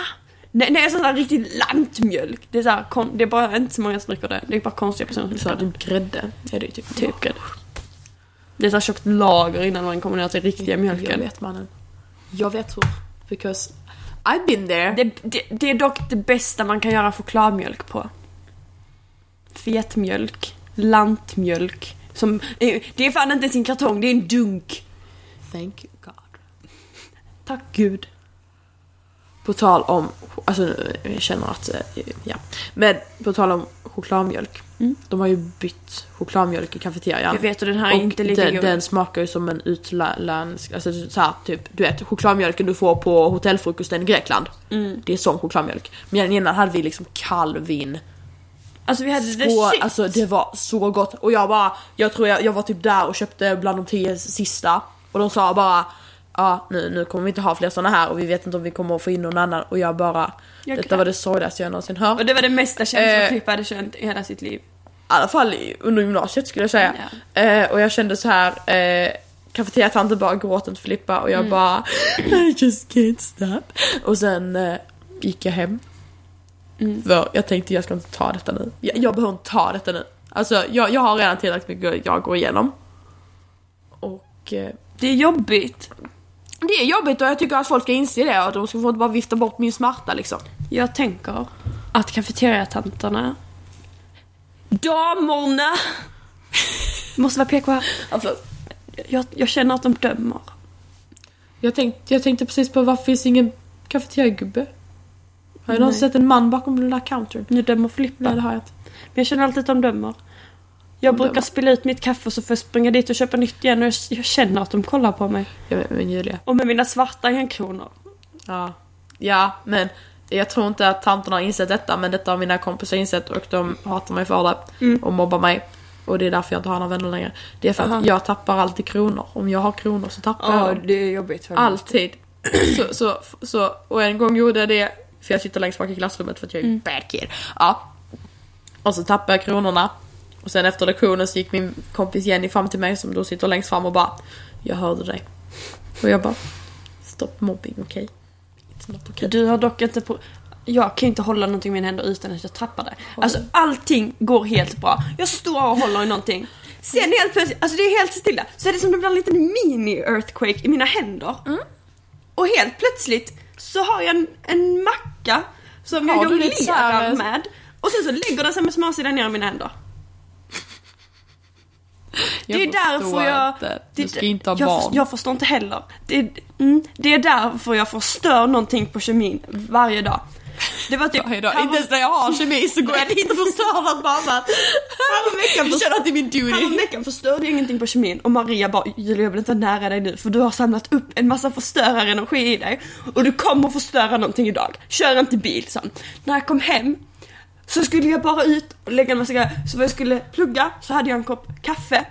Nej, nej sån där riktig lantmjölk. Det är, så här, kon- det är bara inte så många som dricker det. Det är bara konstiga personer som Så här, dricker det. typ grädde är det ju typ. Typ grädde. Det är så här tjockt lager innan man kommer ner till riktiga Jag mjölken. vet mannen. Jag vet hur. Because I've been there. Det, det, det är dock det bästa man kan göra chokladmjölk på. Fetmjölk. Lantmjölk. Som, eh, det är fan inte ens en kartong, det är en dunk. Thank God. Tack gud. På tal om, alltså nu, jag känner att, eh, ja. Men på tal om chokladmjölk. De har ju bytt chokladmjölk i kafeterian. Jag vet och den här är Och inte lika den, god. den smakar ju som en utländsk, alltså så här, typ, du vet chokladmjölken du får på hotellfrukosten i Grekland. Mm. Det är sån chokladmjölk. Men innan hade vi liksom kall vin. Alltså vi hade det Och, shit. alltså det var så gott. Och jag bara, jag tror jag, jag var typ där och köpte bland de tio sista. Och de sa bara, ja nu, nu kommer vi inte ha fler såna här och vi vet inte om vi kommer att få in någon annan. Och jag bara, Jag detta grät. var det sorgligaste jag någonsin hört. och det var det mesta känslan Eh. Filippa hade känt i hela sitt liv. i alla fall i- under gymnasiet skulle jag säga. Eh, och jag kände så här, eh, kafeteriatanten bara gråt inte Filippa och jag bara I just can't stop. Och sen eh, gick jag hem. För jag tänkte jag ska inte ta detta nu. Jag, jag behöver inte ta detta nu. Alltså jag, jag har redan tillräckligt mycket jag går igenom. Och eh, Det är jobbigt. det är jobbigt och jag tycker att folk ska inse det och att de ska få inte bara vifta bort min smärta liksom. Jag tänker att kafeteriatanterna, damerna, måste vara PK här. Alltså, Jag, jag känner att de dömer. jag, tänkte, jag tänkte precis på varför finns ingen kafeteriagubbe? Har jag någonsin Nej. sett en man bakom den där countern? Nu dömer Filippa. Nej det Men har jag inte. jag känner alltid att de dömer. Jag brukar spilla ut mitt kaffe så får jag springa dit och köpa nytt igen och jag, jag känner att de kollar på mig. Jag vet, men Julia. Och med mina svarta enkronor. Ja. ja, men jag tror inte att tanterna har insett detta men detta har mina kompisar insett och de hatar mig för det och mobbar mig. Och det är därför jag inte har några vänner längre. Det är för att Aha. jag tappar alltid kronor. Om jag har kronor så tappar jag dem. det är jobbigt för Allt. Alltid. Så, så, så, och en gång gjorde jag det, för jag sitter längst bak i klassrummet för att jag är bad kid. Ja. Och så tappade jag kronorna. Och sen efter lektionen så gick min kompis Jenny fram till mig som då sitter längst fram och bara Jag hörde dig. Och jag bara Stopp mobbing, okej? It's not okej. Du har dock inte... På, jag kan ju inte hålla någonting i mina händer utan att jag tappar det. Alltså allting går helt bra. Jag står och håller i någonting. Sen Mm. helt plötsligt, alltså det är helt stilla. Så är det som det blir en liten mini-earthquake i mina händer. Mm. Och helt plötsligt så har jag en, en macka som Har jag du lite så här- jonglerar med. Och sen så lägger den sig med småsidan ner i mina händer. det är förstår därför jag... inte. det- Du ska inte ha jag, barn. Jag förstår inte heller. Det, mm, det är därför jag förstör någonting på kemin varje dag. Det var typ... [laughs] Varje dag. härom- Inte ens när jag har kemi så går jag dit och förstör något mamma. Häromveckan Jag känner att det är min duty. Häromveckan förstörde jag ingenting på kemin och Maria bara Julia jag vill inte vara nära dig nu för du har samlat upp en massa förstörarenergi i dig och du kommer förstöra någonting idag. Kör inte bil sen. När jag kom hem så skulle jag bara ut och lägga en massa grejer. Så vad jag skulle plugga så hade jag en kopp kaffe.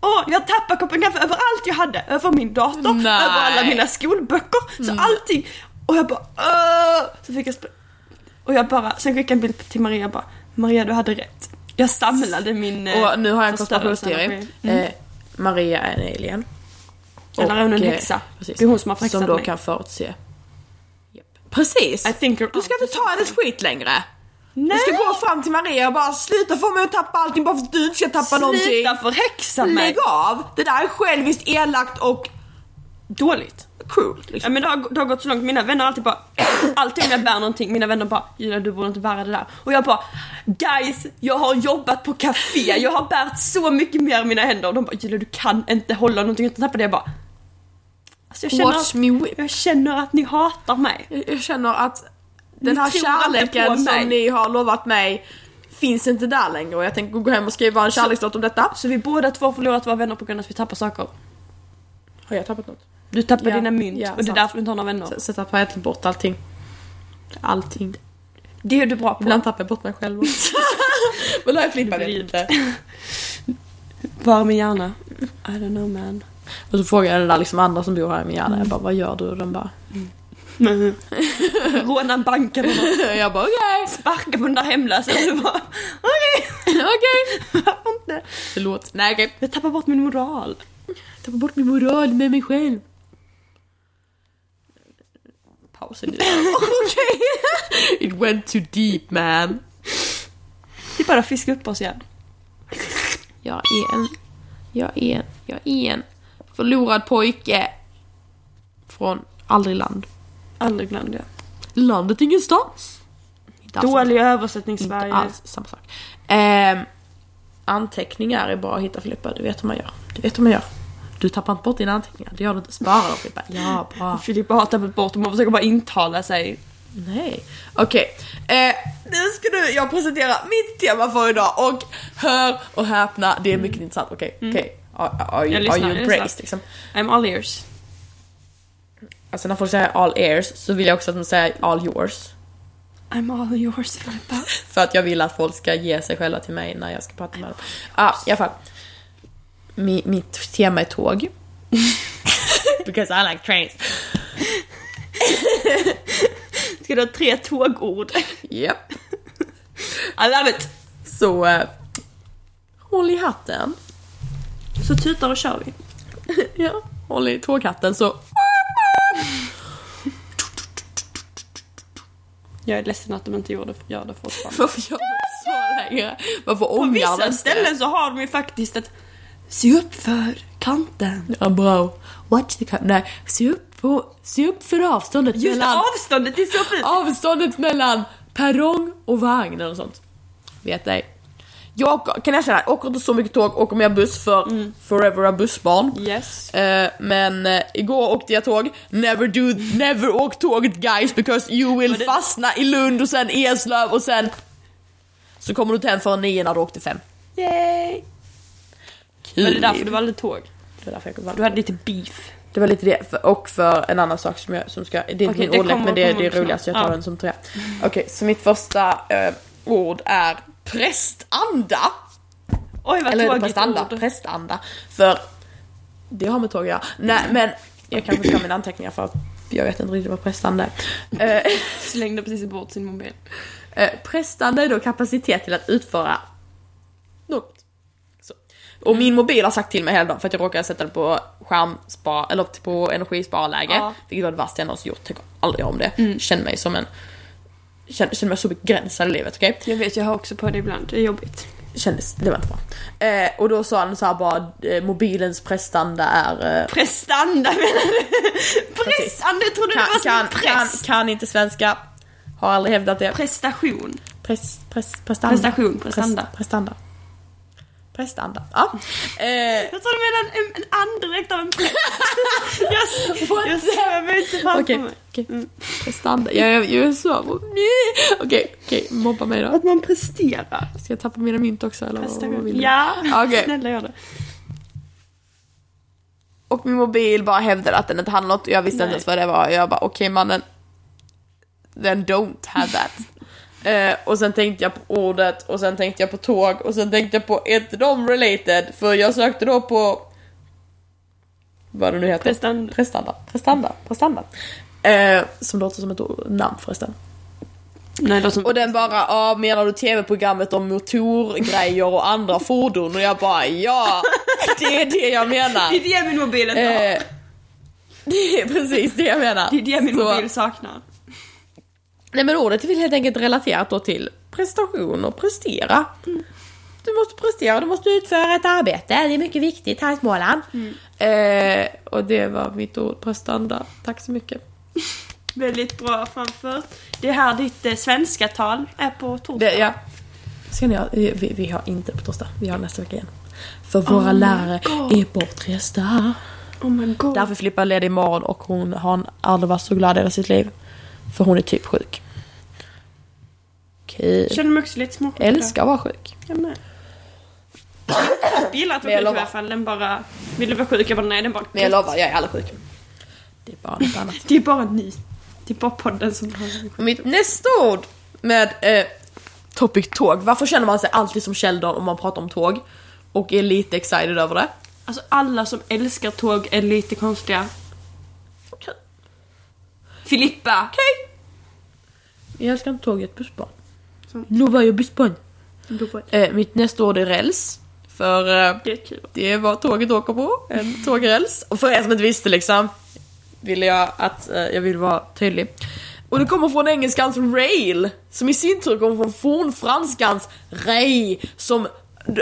Och jag tappade koppen kaffe över allt jag hade. Över min dator, Nej. Mm. över alla mina skolböcker. Så allting. Och jag bara Åh! Så fick jag spr- Och jag bara, sen skickade jag en bild till Maria och bara Maria du hade rätt. Jag samlade min eh, Och nu har jag en förstörelseenergi. konspirationsteori. Eh, Maria är en alien. Mm. Eller är hon en Och, eh, häxa? Precis. Det är hon som har förhäxat Som då mig. kan förutse. Japp. Precis! I think you're Du ska inte ta hennes skit längre! Nej! Du ska gå fram till Maria och bara sluta få mig att tappa allting bara för att du inte ska tappa någonting. Sluta förhäxa mig! Lägg av! Det där är själviskt, elakt och Dåligt. cruel. Ja, Liksom. men det, har, det har gått så långt, mina vänner har alltid bara [coughs] Alltid om jag bär någonting, mina vänner bara Julia du borde inte bära det där. Och jag bara Guys, jag har jobbat på café, jag har bärt så mycket mer i mina händer. Och de bara Julia du kan inte hålla någonting utan tappa det. Jag bara alltså, jag, känner Watch att, me whip. jag känner att ni hatar mig. Jag- Jag känner att den Ni här tror aldrig på kärleken mig. som ni har lovat mig finns inte där längre och jag tänker gå hem och skriva en kärlekslåt om detta. Så vi båda två har förlorat våra vänner på grund av att vi tappar saker. Har jag tappat något? Du tappar Ja, dina mynt ja, och det är sant. därför du inte har några vänner. Så jag tappar egentligen bort allting. Allting. Det är du bra på. Ibland tappar jag bort mig själv också. [laughs] Men då har jag flippat Vrid. lite. Var är min hjärna? I don't know [laughs] man. Och så frågar jag den där liksom andra som bor här i min hjärna, jag bara vad gör du? Och den bara... Råna banken och [laughs] jag bara okej, sparka på den där hemlösa. Du bara, Okej, [laughs] okej. varför inte? Förlåt. Nej okej. Jag tappar bort min moral. Tappar bort min moral med mig själv. Pausen nu. [laughs] okej. It went too deep man. Det är bara att fiska upp oss igen. Jag är en, jag är en, jag är en förlorad pojke. Från aldrig land. Aldrig glöm det. Landet ingenstans. Alltså, Inte alls Dålig Inte översättning-Sverige. alls samma sak. Ehm, anteckningar är bara att hitta Filippa, du vet hur man gör. Du vet hur man gör. Du tappar inte bort dina anteckningar, det gör du inte. Spara dem Filippa. Ja, bra. Filippa har tappat bort dem och försöker bara intala sig. Nej. Okej. Eh, nu ska du, jag presentera mitt tema för idag och hör och häpna, det är mycket intressant. Okej, okej. Are, are Mm. Jag you, lyssnar, are jag you lyssnar. braced liksom? I'm all ears. Alltså när folk säger all ears så vill jag också att de säger all yours. I'm all yours Filippa. För att jag vill att folk ska ge sig själva till mig när jag ska prata med dem. Ah, i alla fall. Mi, mitt tema är tåg. Because I like trains. Ska du ha tre tågord? Japp. I love it! Så eh, håll i hatten. [laughs] Så tutar och kör vi. Ja, håll i tåghatten så... Jag är ledsen att de inte gjorde, gör det fortfarande. Varför gör man så längre? Varför På omgärdas vissa det? ställen så har de ju faktiskt ett Se upp för kanten. Ja, bra. Watch the cup. Nej, se upp, på, se upp för avståndet Just mellan... avståndet är så fint! Avståndet mellan perrong och vagn eller sånt. Vet ej. Jag åker- kan erkänna, jag åker inte så mycket tåg, åker mer buss för forever a bussbarn. Mm. Yes. Eh, men eh, igår åkte jag tåg, never do, never åk tåget guys because you will Men det- fastna i Lund och sen Eslöv och sen så kommer du inte hem förrän nio när du åkte fem. Yay! Men det är liv. därför du valde tåg. Det var därför jag kom fram. Du hade lite beef. Det var lite det. För- Och för en annan sak som jag, som ska, det är inte Okej, min det ordlek kommer- men det är det kommer roligaste så jag tar snart. Ja. den som trea. Okej, så mitt första eh, ord är prästanda. Oj vad Eller är det tråkigt prästanda? ord. Prästanda. För det har med tåg att göra. Nej men jag kanske ska ha mina anteckningar för att jag vet inte riktigt vad prästanda är. Eh, Slängde precis bort sin mobil. Eh, Prestanda är då kapacitet till att utföra något. Så. Mm. Och min mobil har sagt till mig hela dagen för att jag råkade sätta den på skärmspa, eller typ på energisparläge. Ja. Mm. Vilket var det värsta jag någonsin gjort, tycker aldrig om det. Känner mig som en... Känner, känner mig så begränsad i livet, okej? Jag vet, jag har också på det ibland. Det är jobbigt. Kändes, det var inte bra. Eh, och då sa han så här bara, eh, mobilens prestanda är... Eh, Prestanda menar du? Prestanda, jag trodde det var som kan, en kan, press. kan inte svenska. Har aldrig hävdat det. Prestation. Press, press, prestanda. Prestation, prestanda. Press- Prestanda. Prestanda. Ja. Eh, Jag tror du menar en, en andedräkt av [laughs] en präst. jag What jag the- ser mig inte framför Okej, mig. okej. Prestanda. Jag, jag, jag är så... Okej, okej. Mobba mig då. Att man presterar. Ska jag tappa mina mynt också eller vad, vad Prestation. vill du? Ja, Okej. snälla gör det. Och min mobil bara hävdade att den inte hade något och jag visste Nej. inte ens vad det var. Jag bara okej mannen. Then don't have that. [laughs] Eh, och sen tänkte jag på ordet och sen tänkte jag på tåg och sen tänkte jag på inte de related för jag sökte då på vad det nu heter. Prestanda. Prestanda. Prestanda. Prestanda. Eh, som låter som ett ord- namn förresten. Nej, det som... Och den bara, ja menar du tv-programmet om motorgrejer och andra fordon? Och jag bara, ja! Det är det jag [laughs] menar. Det är det min mobil inte har. Eh, [laughs] det är precis det jag menar. Det är det min Så- mobil saknar. Nej men ordet är väl helt enkelt relaterat då till prestation och prestera. Du måste prestera, du måste utföra ett arbete, det är mycket viktigt här i Småland. Eh, och det var mitt ord, prestanda. Tack så mycket. Väldigt bra framfört. Det är här ditt eh, svenska tal är på torsdag. Det, ja. Ska ni ha, vi, vi har inte på torsdag, vi har nästa vecka igen. För våra lärare är bortresta. Oh my god. Därför flippar Lady imorgon och hon har aldrig varit så glad i hela sitt liv. För hon är typ sjuk. Okej. Jag känner mig också lite småsjuk. Älskar att vara sjuk. Jag med. Jag gillar Men jag att vara sjuk i lovar. alla fall. Den bara... Vill du vara sjuk? Jag bara nej, den bara... Men jag lovar, jag är aldrig sjuk. Det är bara något annat. Det är bara ni. Det är bara podden som har... Och [laughs] Mitt nästa ord med eh, topic tåg. Varför känner man sig alltid som Sheldon om man pratar om tåg? Och är lite excited över det? Alltså alla som älskar tåg är lite konstiga. Okej. Filippa! Jag älskar inte tåg, jag är ett bussbarn. Så. Nu var jag bussbarn. Okej. Eh, mitt nästa ord är räls. För... Eh, Det är typ kul. Det är vad tåget åker på, en tågräls. Och för er som inte visste liksom, ville jag att eh, jag vill vara tydlig. Och det kommer från engelskans rail, som i sin tur kommer från fornfranskans rej, som...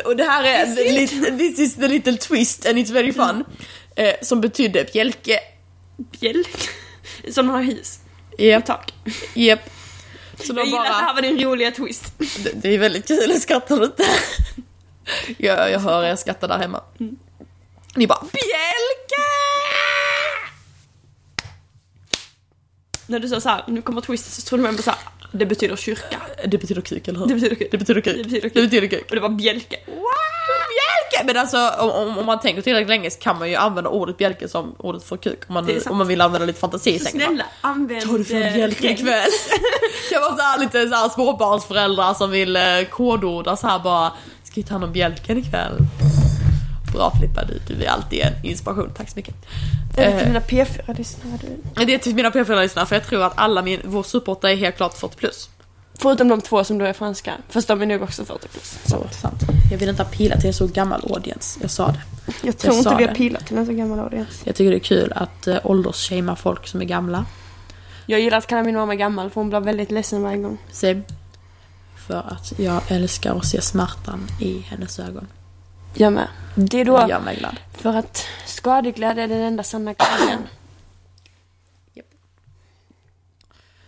Och det här är the little, this is the little twist and it's very fun. Eh, som betydde bjälke. Bjälk. [laughs] Som har his. Japp, Tak. japp. Så Jag de gillar att det bara... här var din roliga twist. Det, det är väldigt kul, jag skrattar lite. [laughs] Jag, jag hör er skratta där hemma. Mm. Ni bara bjälke! När du sa såhär, nu kommer twisten, så trodde man bara såhär, det betyder kyrka. Det betyder kuk, eller hur? Det betyder kul. Det betyder kuk. Det betyder kuk. Det betyder kuk. Och det var bjälke. Bjälke! Men alltså om, om, om man tänker tillräckligt länge så kan man ju använda ordet bjälke som ordet för kuk. Om man, Det är sant. om man vill använda lite fantasi. Så tänker man. snälla, använd... Tar du för eh, bjälke [laughs] regn. ikväll? kan vara såhär lite såhär småbarnsföräldrar som vill eh, kodorda såhär bara Ska vi ta hand om bjälken ikväll? Bra Filippa, du, du är alltid en inspiration. Tack så mycket. Jag Eh, vet inte, mina P4-lyssnare du... det är till mina P4-lyssnare för jag tror att alla min, vår supporter är helt klart 40 plus. Förutom de två som då är franska. Fast de är nog också 40 plus. Så sant. Jag vill inte appeala till en så gammal audience. Jag sa det. Jag tror Jag sa inte vi har det. pilat till en så gammal audience. Jag tycker det är kul att eh, åldersshamea folk som är gamla. Jag gillar att kalla min mamma gammal för hon blir väldigt ledsen varje gång. Sib. För att jag älskar att se smärtan i hennes ögon. Jag med. Det är då Det gör mig glad. för att skadeglädje är den enda sanna glädjen.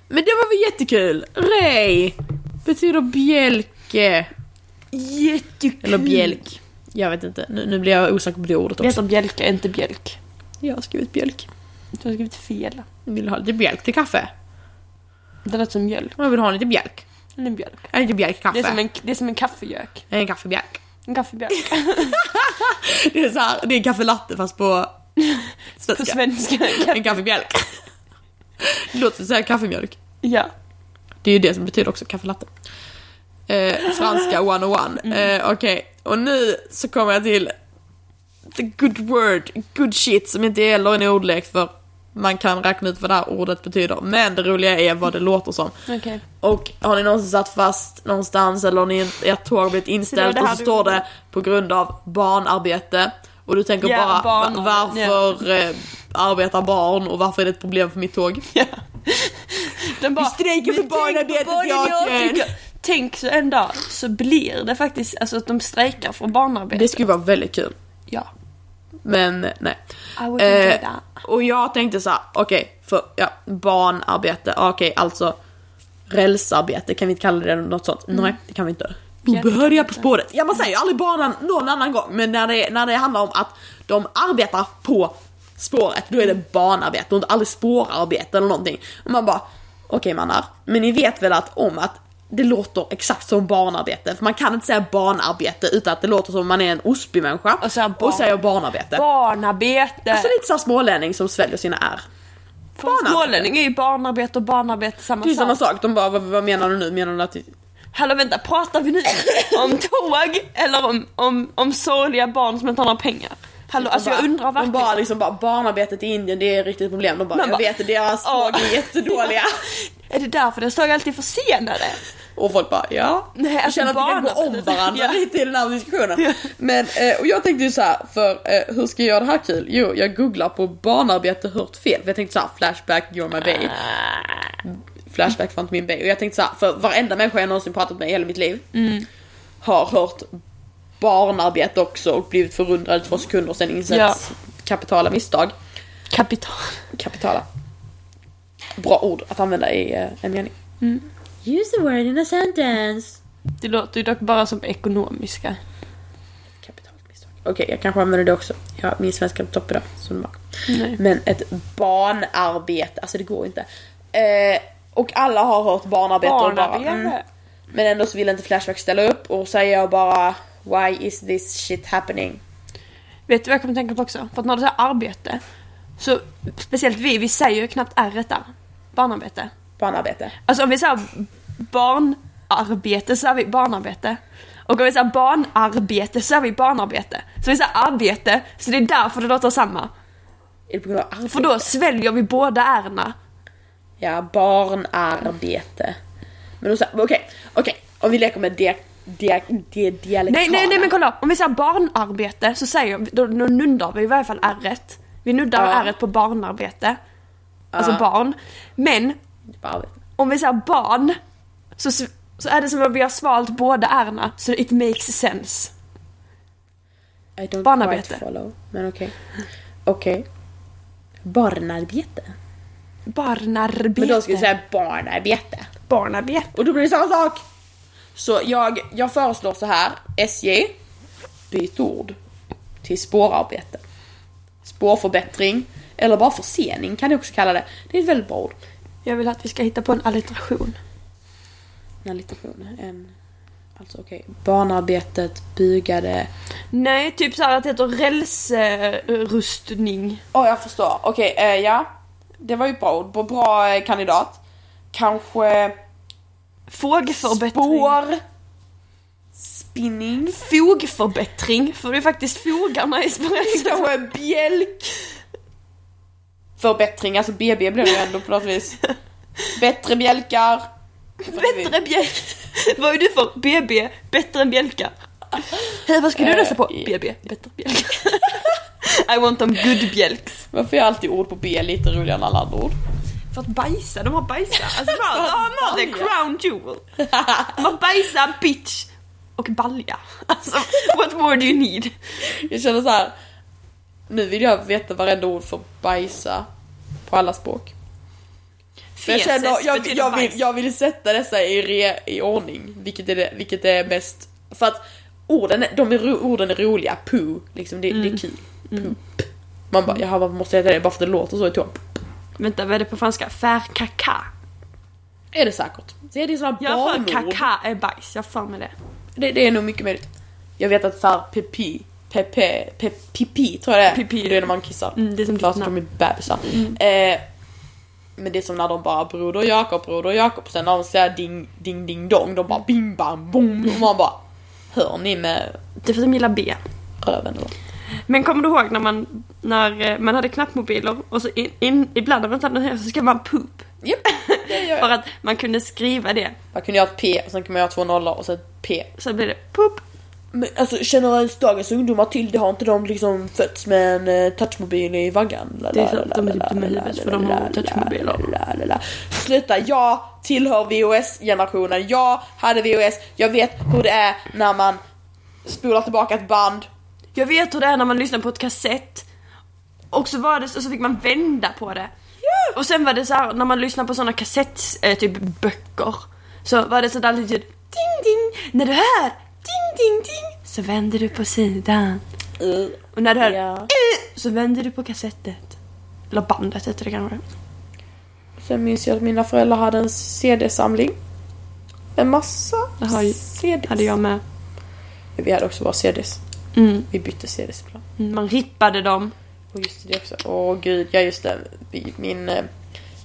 Men det var väl jättekul? Rej! Betyder bjälke. Jättekul! Eller bjälk. Jag vet inte. Nu, nu blir jag osäker på det ordet Det också. heter bjälke, inte bjälk. Jag har skrivit bjälk. Du har skrivit fel. Vill du ha lite bjälk till kaffe? Det låter som mjölk. Jag vill ha lite bjälk. Eller en bjälk. Eller lite bjälkkaffe. Det är som en, det är som en kaffegök. en kaffebjälk. [laughs] En gaffelbjörk. Det är, så här, det är en kaffelatte fast [laughs] på På svenska. svenska. En kaffemjölk. [laughs] Det låter som att säga kaffemjölk. ja. Det är ju det som betyder också kaffelatte. Eh, franska 101. Mm. Eh, Okej, och nu så kommer jag till the good word, good shit, som inte gäller en ordlek för man kan räkna ut vad det här ordet betyder. Men det roliga är vad det låter som. Okej. Och har ni någonsin satt fast någonstans eller har ni ert tåg har blivit Så det var inställt det och här så du- står det på grund av barnarbete och du tänker Ja, bara "Va- barn- varför eh, arbetar barn och varför är det ett problem för mitt tåg? Ja. Den bara, Vi strejkar för "Men tänk på barnarbetet i Asien." tycker- Tänk så en dag så blir det faktiskt alltså att de strejkar för barnarbete. Det skulle vara väldigt kul. Ja. Men nej. I would enjoy Eh, that. och jag tänkte så här, okej, för ja, barnarbete, okej alltså rälsarbete, kan vi inte kalla det något sånt? Nej, det kan vi inte. det kan vi Obehöriga på Mm. inte. spåret. Ja, man säger ju aldrig barnen någon annan gång, men när det, när det handlar om att de arbetar på spåret, då Mm. är det barnarbete och inte aldrig spårarbete eller någonting. Och man bara, okej mannar, men ni vet väl att om att det låter exakt som barnarbete, för man kan inte säga barnarbete utan att det låter som om man är en ospig människa Och säga barn- och säger barnarbete. Barnarbete! Alltså lite såhär smålänning som sväljer sina R. för en barnarbete. smålänning är ju barnarbete och barnarbete samma Det är ju sak. Typ samma sak, de bara vad, vad menar du nu? Menar du att... Hallå vänta, pratar vi nu om tåg eller om, om, om sorgliga barn som inte har några pengar? Hallå, alltså jag undrar De verkligen. Typ bara liksom bara, barnarbetet i Indien det är ett riktigt problem. De bara, Man jag bara, vet att deras "Ja." tåg är [laughs] jättedåliga. Är det därför deras tåg alltid är försenade? och folk bara, ja. Nej, jag alltså känner att vi kan gå om barnarbetet- varandra Ja. [laughs] lite i den här diskussionen. Men, eh, och jag tänkte ju så här, för eh, hur ska jag göra det här kul? Jo, jag googlar på barnarbete hört fel. För jag tänkte så här, flashback, you're my babe. Flashback var inte min babe. Och jag tänkte så här, för varenda människa jag någonsin pratat med i hela mitt liv har hört barnarbete också och blivit förundrad i två sekunder och sen insett Ja. kapitala misstag. Kapital. Kapitala. Bra ord att använda i eh, en mening. Use the word in a sentence. Det låter ju dock bara som ekonomiska. Kapitalt misstag. Okej, jag kanske använder det också. Jag, min svenska är på topp idag. Som var. Nej. Men ett barnarbete, alltså det går inte. Eh, och alla har hört barnarbete och bara... Barnarbete. Mm. Men ändå så vill inte Flashback ställa upp och säger jag bara Why is this shit happening? Vet du vad jag kommer tänka på också? För att när du säger arbete, så speciellt vi, vi säger ju knappt r där. Barnarbete. Barnarbete. Alltså om vi säger barnarbete så är vi barnarbete. Och om vi säger barnarbete så är vi barnarbete. Så vi säger arbete, så det är därför det låter samma. Är det på grund av arbete? För då sväljer vi båda ärna. Ja, barnarbete. Men då så- okej, okej. Om vi leker med dia, dia, dia, dialektala. Nej, nej, nej men kolla. Om vi säger barnarbete så säger vi, då, då nuddar vi i varje fall ärret. Vi nuddar Ja. ärret på barnarbete. Alltså Ja. barn. Men Barnarbete. om vi säger barn så, sv- så är det som om vi har svalt båda ärna. Så it makes sense. I don't Barnarbete. quite follow, men okej. Okej. Barnarbete. Barnarbete. Men då ska vi säga barnarbete. barnarbete. Och då blir det samma sak! Så jag, jag föreslår så här, SJ, byt ord till spårarbete. Spårförbättring, eller bara försening kan du också kalla det. Det är ett väldigt bra ord. Jag vill att vi ska hitta på en alliteration. En alliteration, en... Alltså okej, barnarbetet, bygade... Nej, typ så här att det heter rälsrustning. Ja, jag förstår. Okej, eh, ja. Det var ju ett bra ord. Bra, bra eh, kandidat. Kanske... Fågförbättring. Spår. Spinning. Fogförbättring. För det är faktiskt fogarna i [laughs] spåret. Kanske bjälk. Förbättring, alltså BB blev det ju ändå på något vis. Bättre bjälkar. Bättre bjälk. Vad är du för? BB, bättre än bjälkar. Hej, vad ska du Eh, rösta på? i- BB, bättre bjälkar. [laughs] I want them good bjälks. Varför är alltid ord på B lite roligare än alla andra ord? [laughs] För att bajsa, de har [laughs] bajsat. Alltså bara, ja no, the balja. crown jewel. De har bajsa, bitch och balja. Alltså, what more do you need? Jag känner så här. Nu vill jag veta varenda ord för bajsa på alla språk. Men Jag, Feses känner, jag, betyder jag, vill, bajs. jag vill sätta dessa i, re, i ordning, vilket är, det, vilket är mest... För att orden, är- de är, ro- orden är roliga, poo, liksom det, Mm. det är kul. Poop. Man bara, jaha varför måste jag heta det? Bara för att det låter så i tom. Vänta, vad är det på franska? Faire caca. Är det säkert. Så är det sådana Jag har för barnord. caca är bajs, jag har för mig det. Det, det är nog mycket möjligt. Jag vet att såhär pipi, pepe, pe, pipi tror jag det är. Pipi. Det är när man kissar. Mm, det är som Klart ditt Mm. de är bebisar. Eh, men det är som när de bara broder Jakob, broder Jakob. Sen när de säger ding, ding, ding, dong. De bara bing, bam, bom. Och man bara hör ni med Det är för att de gillar B. röven eller? Men kommer du ihåg när man, när eh, man hade knappmobiler och så in, in, ibland när man inte hade någon här så skrev man poop. [laughs] Japp, det gör För jag. att man kunde skriva det. Man kunde göra ett P och sen kunde man göra två nollor och sen ett P. Så blev det poop. Men alltså känner ens dagens ungdomar till det? Har inte de liksom fötts med en eh, touchmobil i vaggan? La, Det är la, så att de är la, typ la, dumma i la, huvudet, la, för de la, har la, touchmobiler. la, la, la. Sluta, jag tillhör VHS-generationen. Jag hade VHS, jag vet hur det är när man spolar tillbaka ett band. Jag vet hur det är när man lyssnar på ett kassett. Och så, var det, och så fick man vända på det. Och sen var det så här när man lyssnar på såna kassett, eh, typ böcker. Så var det sådär litet ding ding. När du hör ding ding ding så vänder du på sidan. Uh, Och när du hör Ja. eh, så vänder du på kassettet. Eller bandet heter det kanske. Sen minns jag att mina föräldrar hade en CD-samling. En massa Det har ju- CDs. Hade jag med. Vi hade också bara CDs. Mm. Vi bytte CDs ibland. Man rippade dem. Och just det också. Åh gud, ja just det. Vi- Min eh,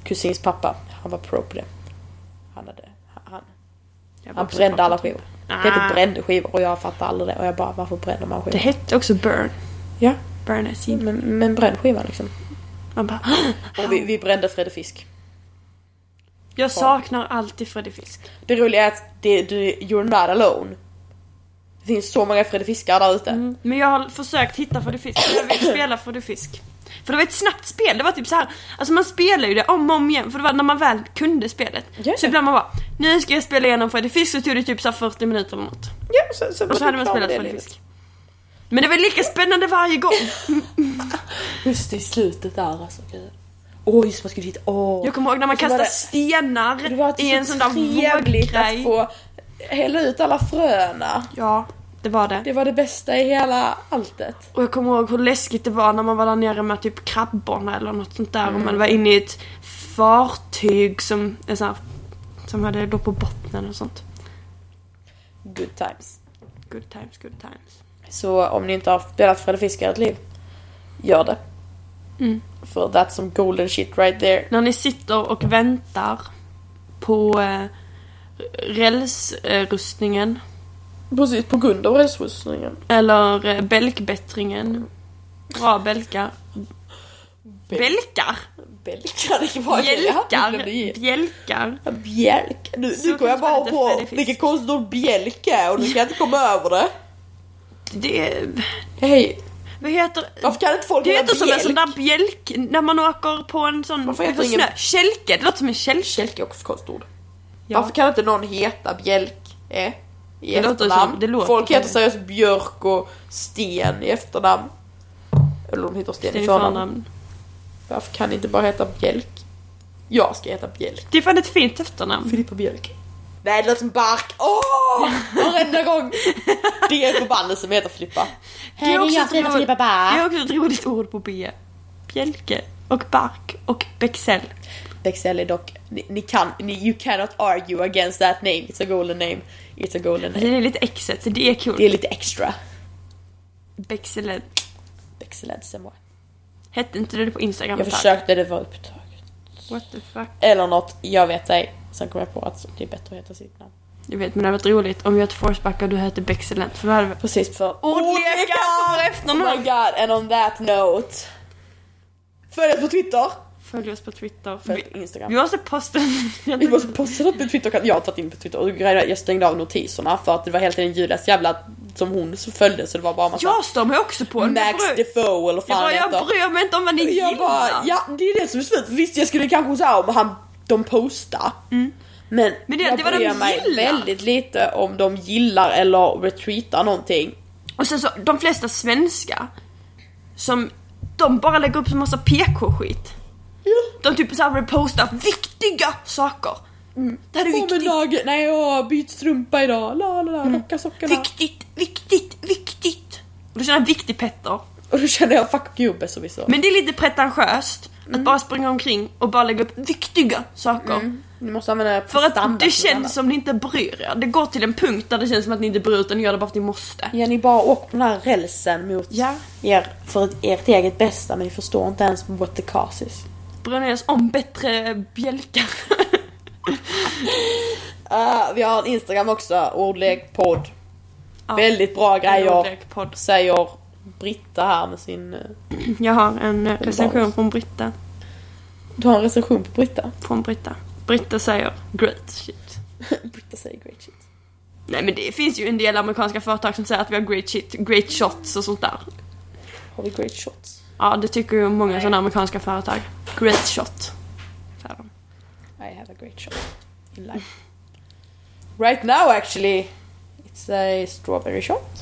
kusins pappa, han var pro på det. Han, hade, han, Jag han bara- brände alla skivor. Det Ah. hette brände skivor och jag fattade aldrig det. Och jag bara, varför bränner man Det skivor? hette också burn. Ja, Burn as in. men, men bränn skivan liksom. Man bara [gasps] Och vi, vi brände Fredde Fisk. Jag saknar alltid Freddy Fisk. Det roliga är att det, du, you're not alone. Det finns så många Fredde Fiskar där ute. Mm. Men jag har försökt hitta Freddy Fisk. Jag vill spela Freddy Fisk. För det var ett snabbt spel. Det var typ så här. Alltså man spelar ju det om och om igen. För det var när man väl kunde spelet. Ja. Så ibland man bara Nu ska jag spela igenom Freddy Fisk. Så tog det typ så här 40 minuter eller något. Ja, så, så, Och så hade man spelat Freddy Fisk. Men det var lika spännande varje gång. Just det, i slutet där alltså. gud. Åh just det, man skulle hitta, åh. Jag kommer ihåg när man Så var kastade det- stenar Det var alltid i en sån där trevligt att våggrej. få hälla ut alla fröna. Ja, det var det. Det var det bästa i hela alltet. Och jag kommer ihåg hur läskigt det var när man var där nere med typ krabborna eller något sånt där och man var inne i ett fartyg som, är så här, som hade då på bottnen och sånt. Good times. Good times, good times. Så om ni inte har spelat Fredde Fisk i ert liv, gör det. Mm. För that's some golden shit right there. När ni sitter och väntar på eh, rälsrustningen Precis, på grund av rälsbussningen. eller eh, bälkbättringen. Bra bälkar. Bälkar? Bjälkar, vad är det? Jag Bjälkar? glömde ge. Bjälkar? Bjälk. Nu, Så nu kommer jag bara kanske man heter på Fredde Fisk. vilket konstigt ord bjälk är och nu kan jag inte komma över det. Det... Hej, Vad heter... varför kan inte folk Det heta heter som en sån bjälk? där bjälk, när man åker på en sån Varför heter på ingen- snö. Kälke, det låter som en kälke. Bjälk är också ett konstigt ord. Ja. Varför kan inte någon heta Bjälk eh, i Det låter efternamn? som- det låter Folk som heter det. seriöst Björk och Sten i efternamn. Eller de heter Sten Det i är förnamn. förnamn. Varför kan det inte bara heta Bjälk? Jag ska heta Bjälk. Det är fan ett fint efternamn. Filippa Bjälk. Nej det låter som Bark. Åh! Varenda gång! Det är en förbannelse som heter Filippa. Hej, det är jag, Frida Filippa Det Bark. är också ett roligt ord på B. Bjälke och bark och bexell. Alltså, Bexell är dock, ni, ni kan, ni, you cannot argue against that name. It's a golden name. It's a golden Alltså name. det är lite exet, så det är kul. Det är lite extra. Bexellent. Bexelled semwa. Hette inte det på Instagram? Jag ett tag? försökte, det var upptaget. What the fuck. Eller något, jag vet ej. Sen kom jag på att det är bättre att heta sitt namn. Jag vet men det hade varit roligt om vi hade Forsbacka och du hette Bexellent. För då hade vi... Precis för Ordlekar för Oh efternamn! my god, and on that note. Följ oss på Twitter. Följ oss på Twitter. Följ Vi, på Instagram. vi måste posta... Vi måste posta något på Twitter. Jag har tagit in på Twitter och grejen är att jag stängde av notiserna för att det var helt tiden Julias jävla som hon så följde så det var bara massa Jag står mig också på en Max Defoe eller fan Jag, bara, han jag heter. bryr mig inte om vad ni Jag gillar. bara, ja det är det som är slut. Visst jag skulle kanske säga om han, de postar. Men, Mm. Men det- jag det var de bryr mig gillar. väldigt lite om de gillar eller retweetar någonting. Och sen så, de flesta svenskar som, de bara lägger upp en massa PK-skit. De typ såhär repostar viktiga saker. Mm. Det här är På med viktigt, Mm. dagen, nej jag har bytt strumpa idag, la la la, rocka sockorna. viktigt, viktigt, viktigt. Och då känner jag viktig Petter. Och då känner jag fuck you besserwisser. Mm. Men det är lite pretentiöst att bara springa omkring och bara lägga upp viktiga saker. Ni måste använda För att prestanda det till något annat. känns som ni inte bryr er. Det går till en punkt där det känns som att ni inte bryr er utan ni gör det bara för att ni måste. Ja, ni bara åker på den här rälsen mot Ja. er för ert eget bästa men ni förstår inte ens what the cause is. Bryr ni er om bättre bjälkar? Ah, vi har en Instagram också, ordlek podd. Ja. Väldigt bra grejer Ordlek podd. säger Britta här med sin... eh, Jag har en eh, recension från Britta. Du har en recension på Britta? [laughs] Från Britta. Britta säger great shit. Britta säger great shit. Nej men det finns ju en del amerikanska företag som säger att vi har great shit, great shots och sånt där. Har vi great shots? Ja det tycker ju många sådana amerikanska företag. Great shot. Säger de. I have a great shot in life. [laughs] Right now actually it's a strawberry shot.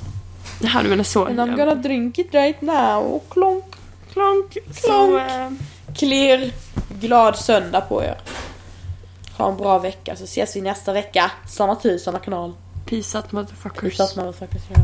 Det här du menar så. And I'm gonna drink it right now. Klonk. Klonk. Så, Klonk. eh, Clear. Glad söndag på er. Ha en bra vecka så ses vi nästa vecka. Samma tid, samma kanal. peace out motherfuckers. Utan att man faktiskt gör.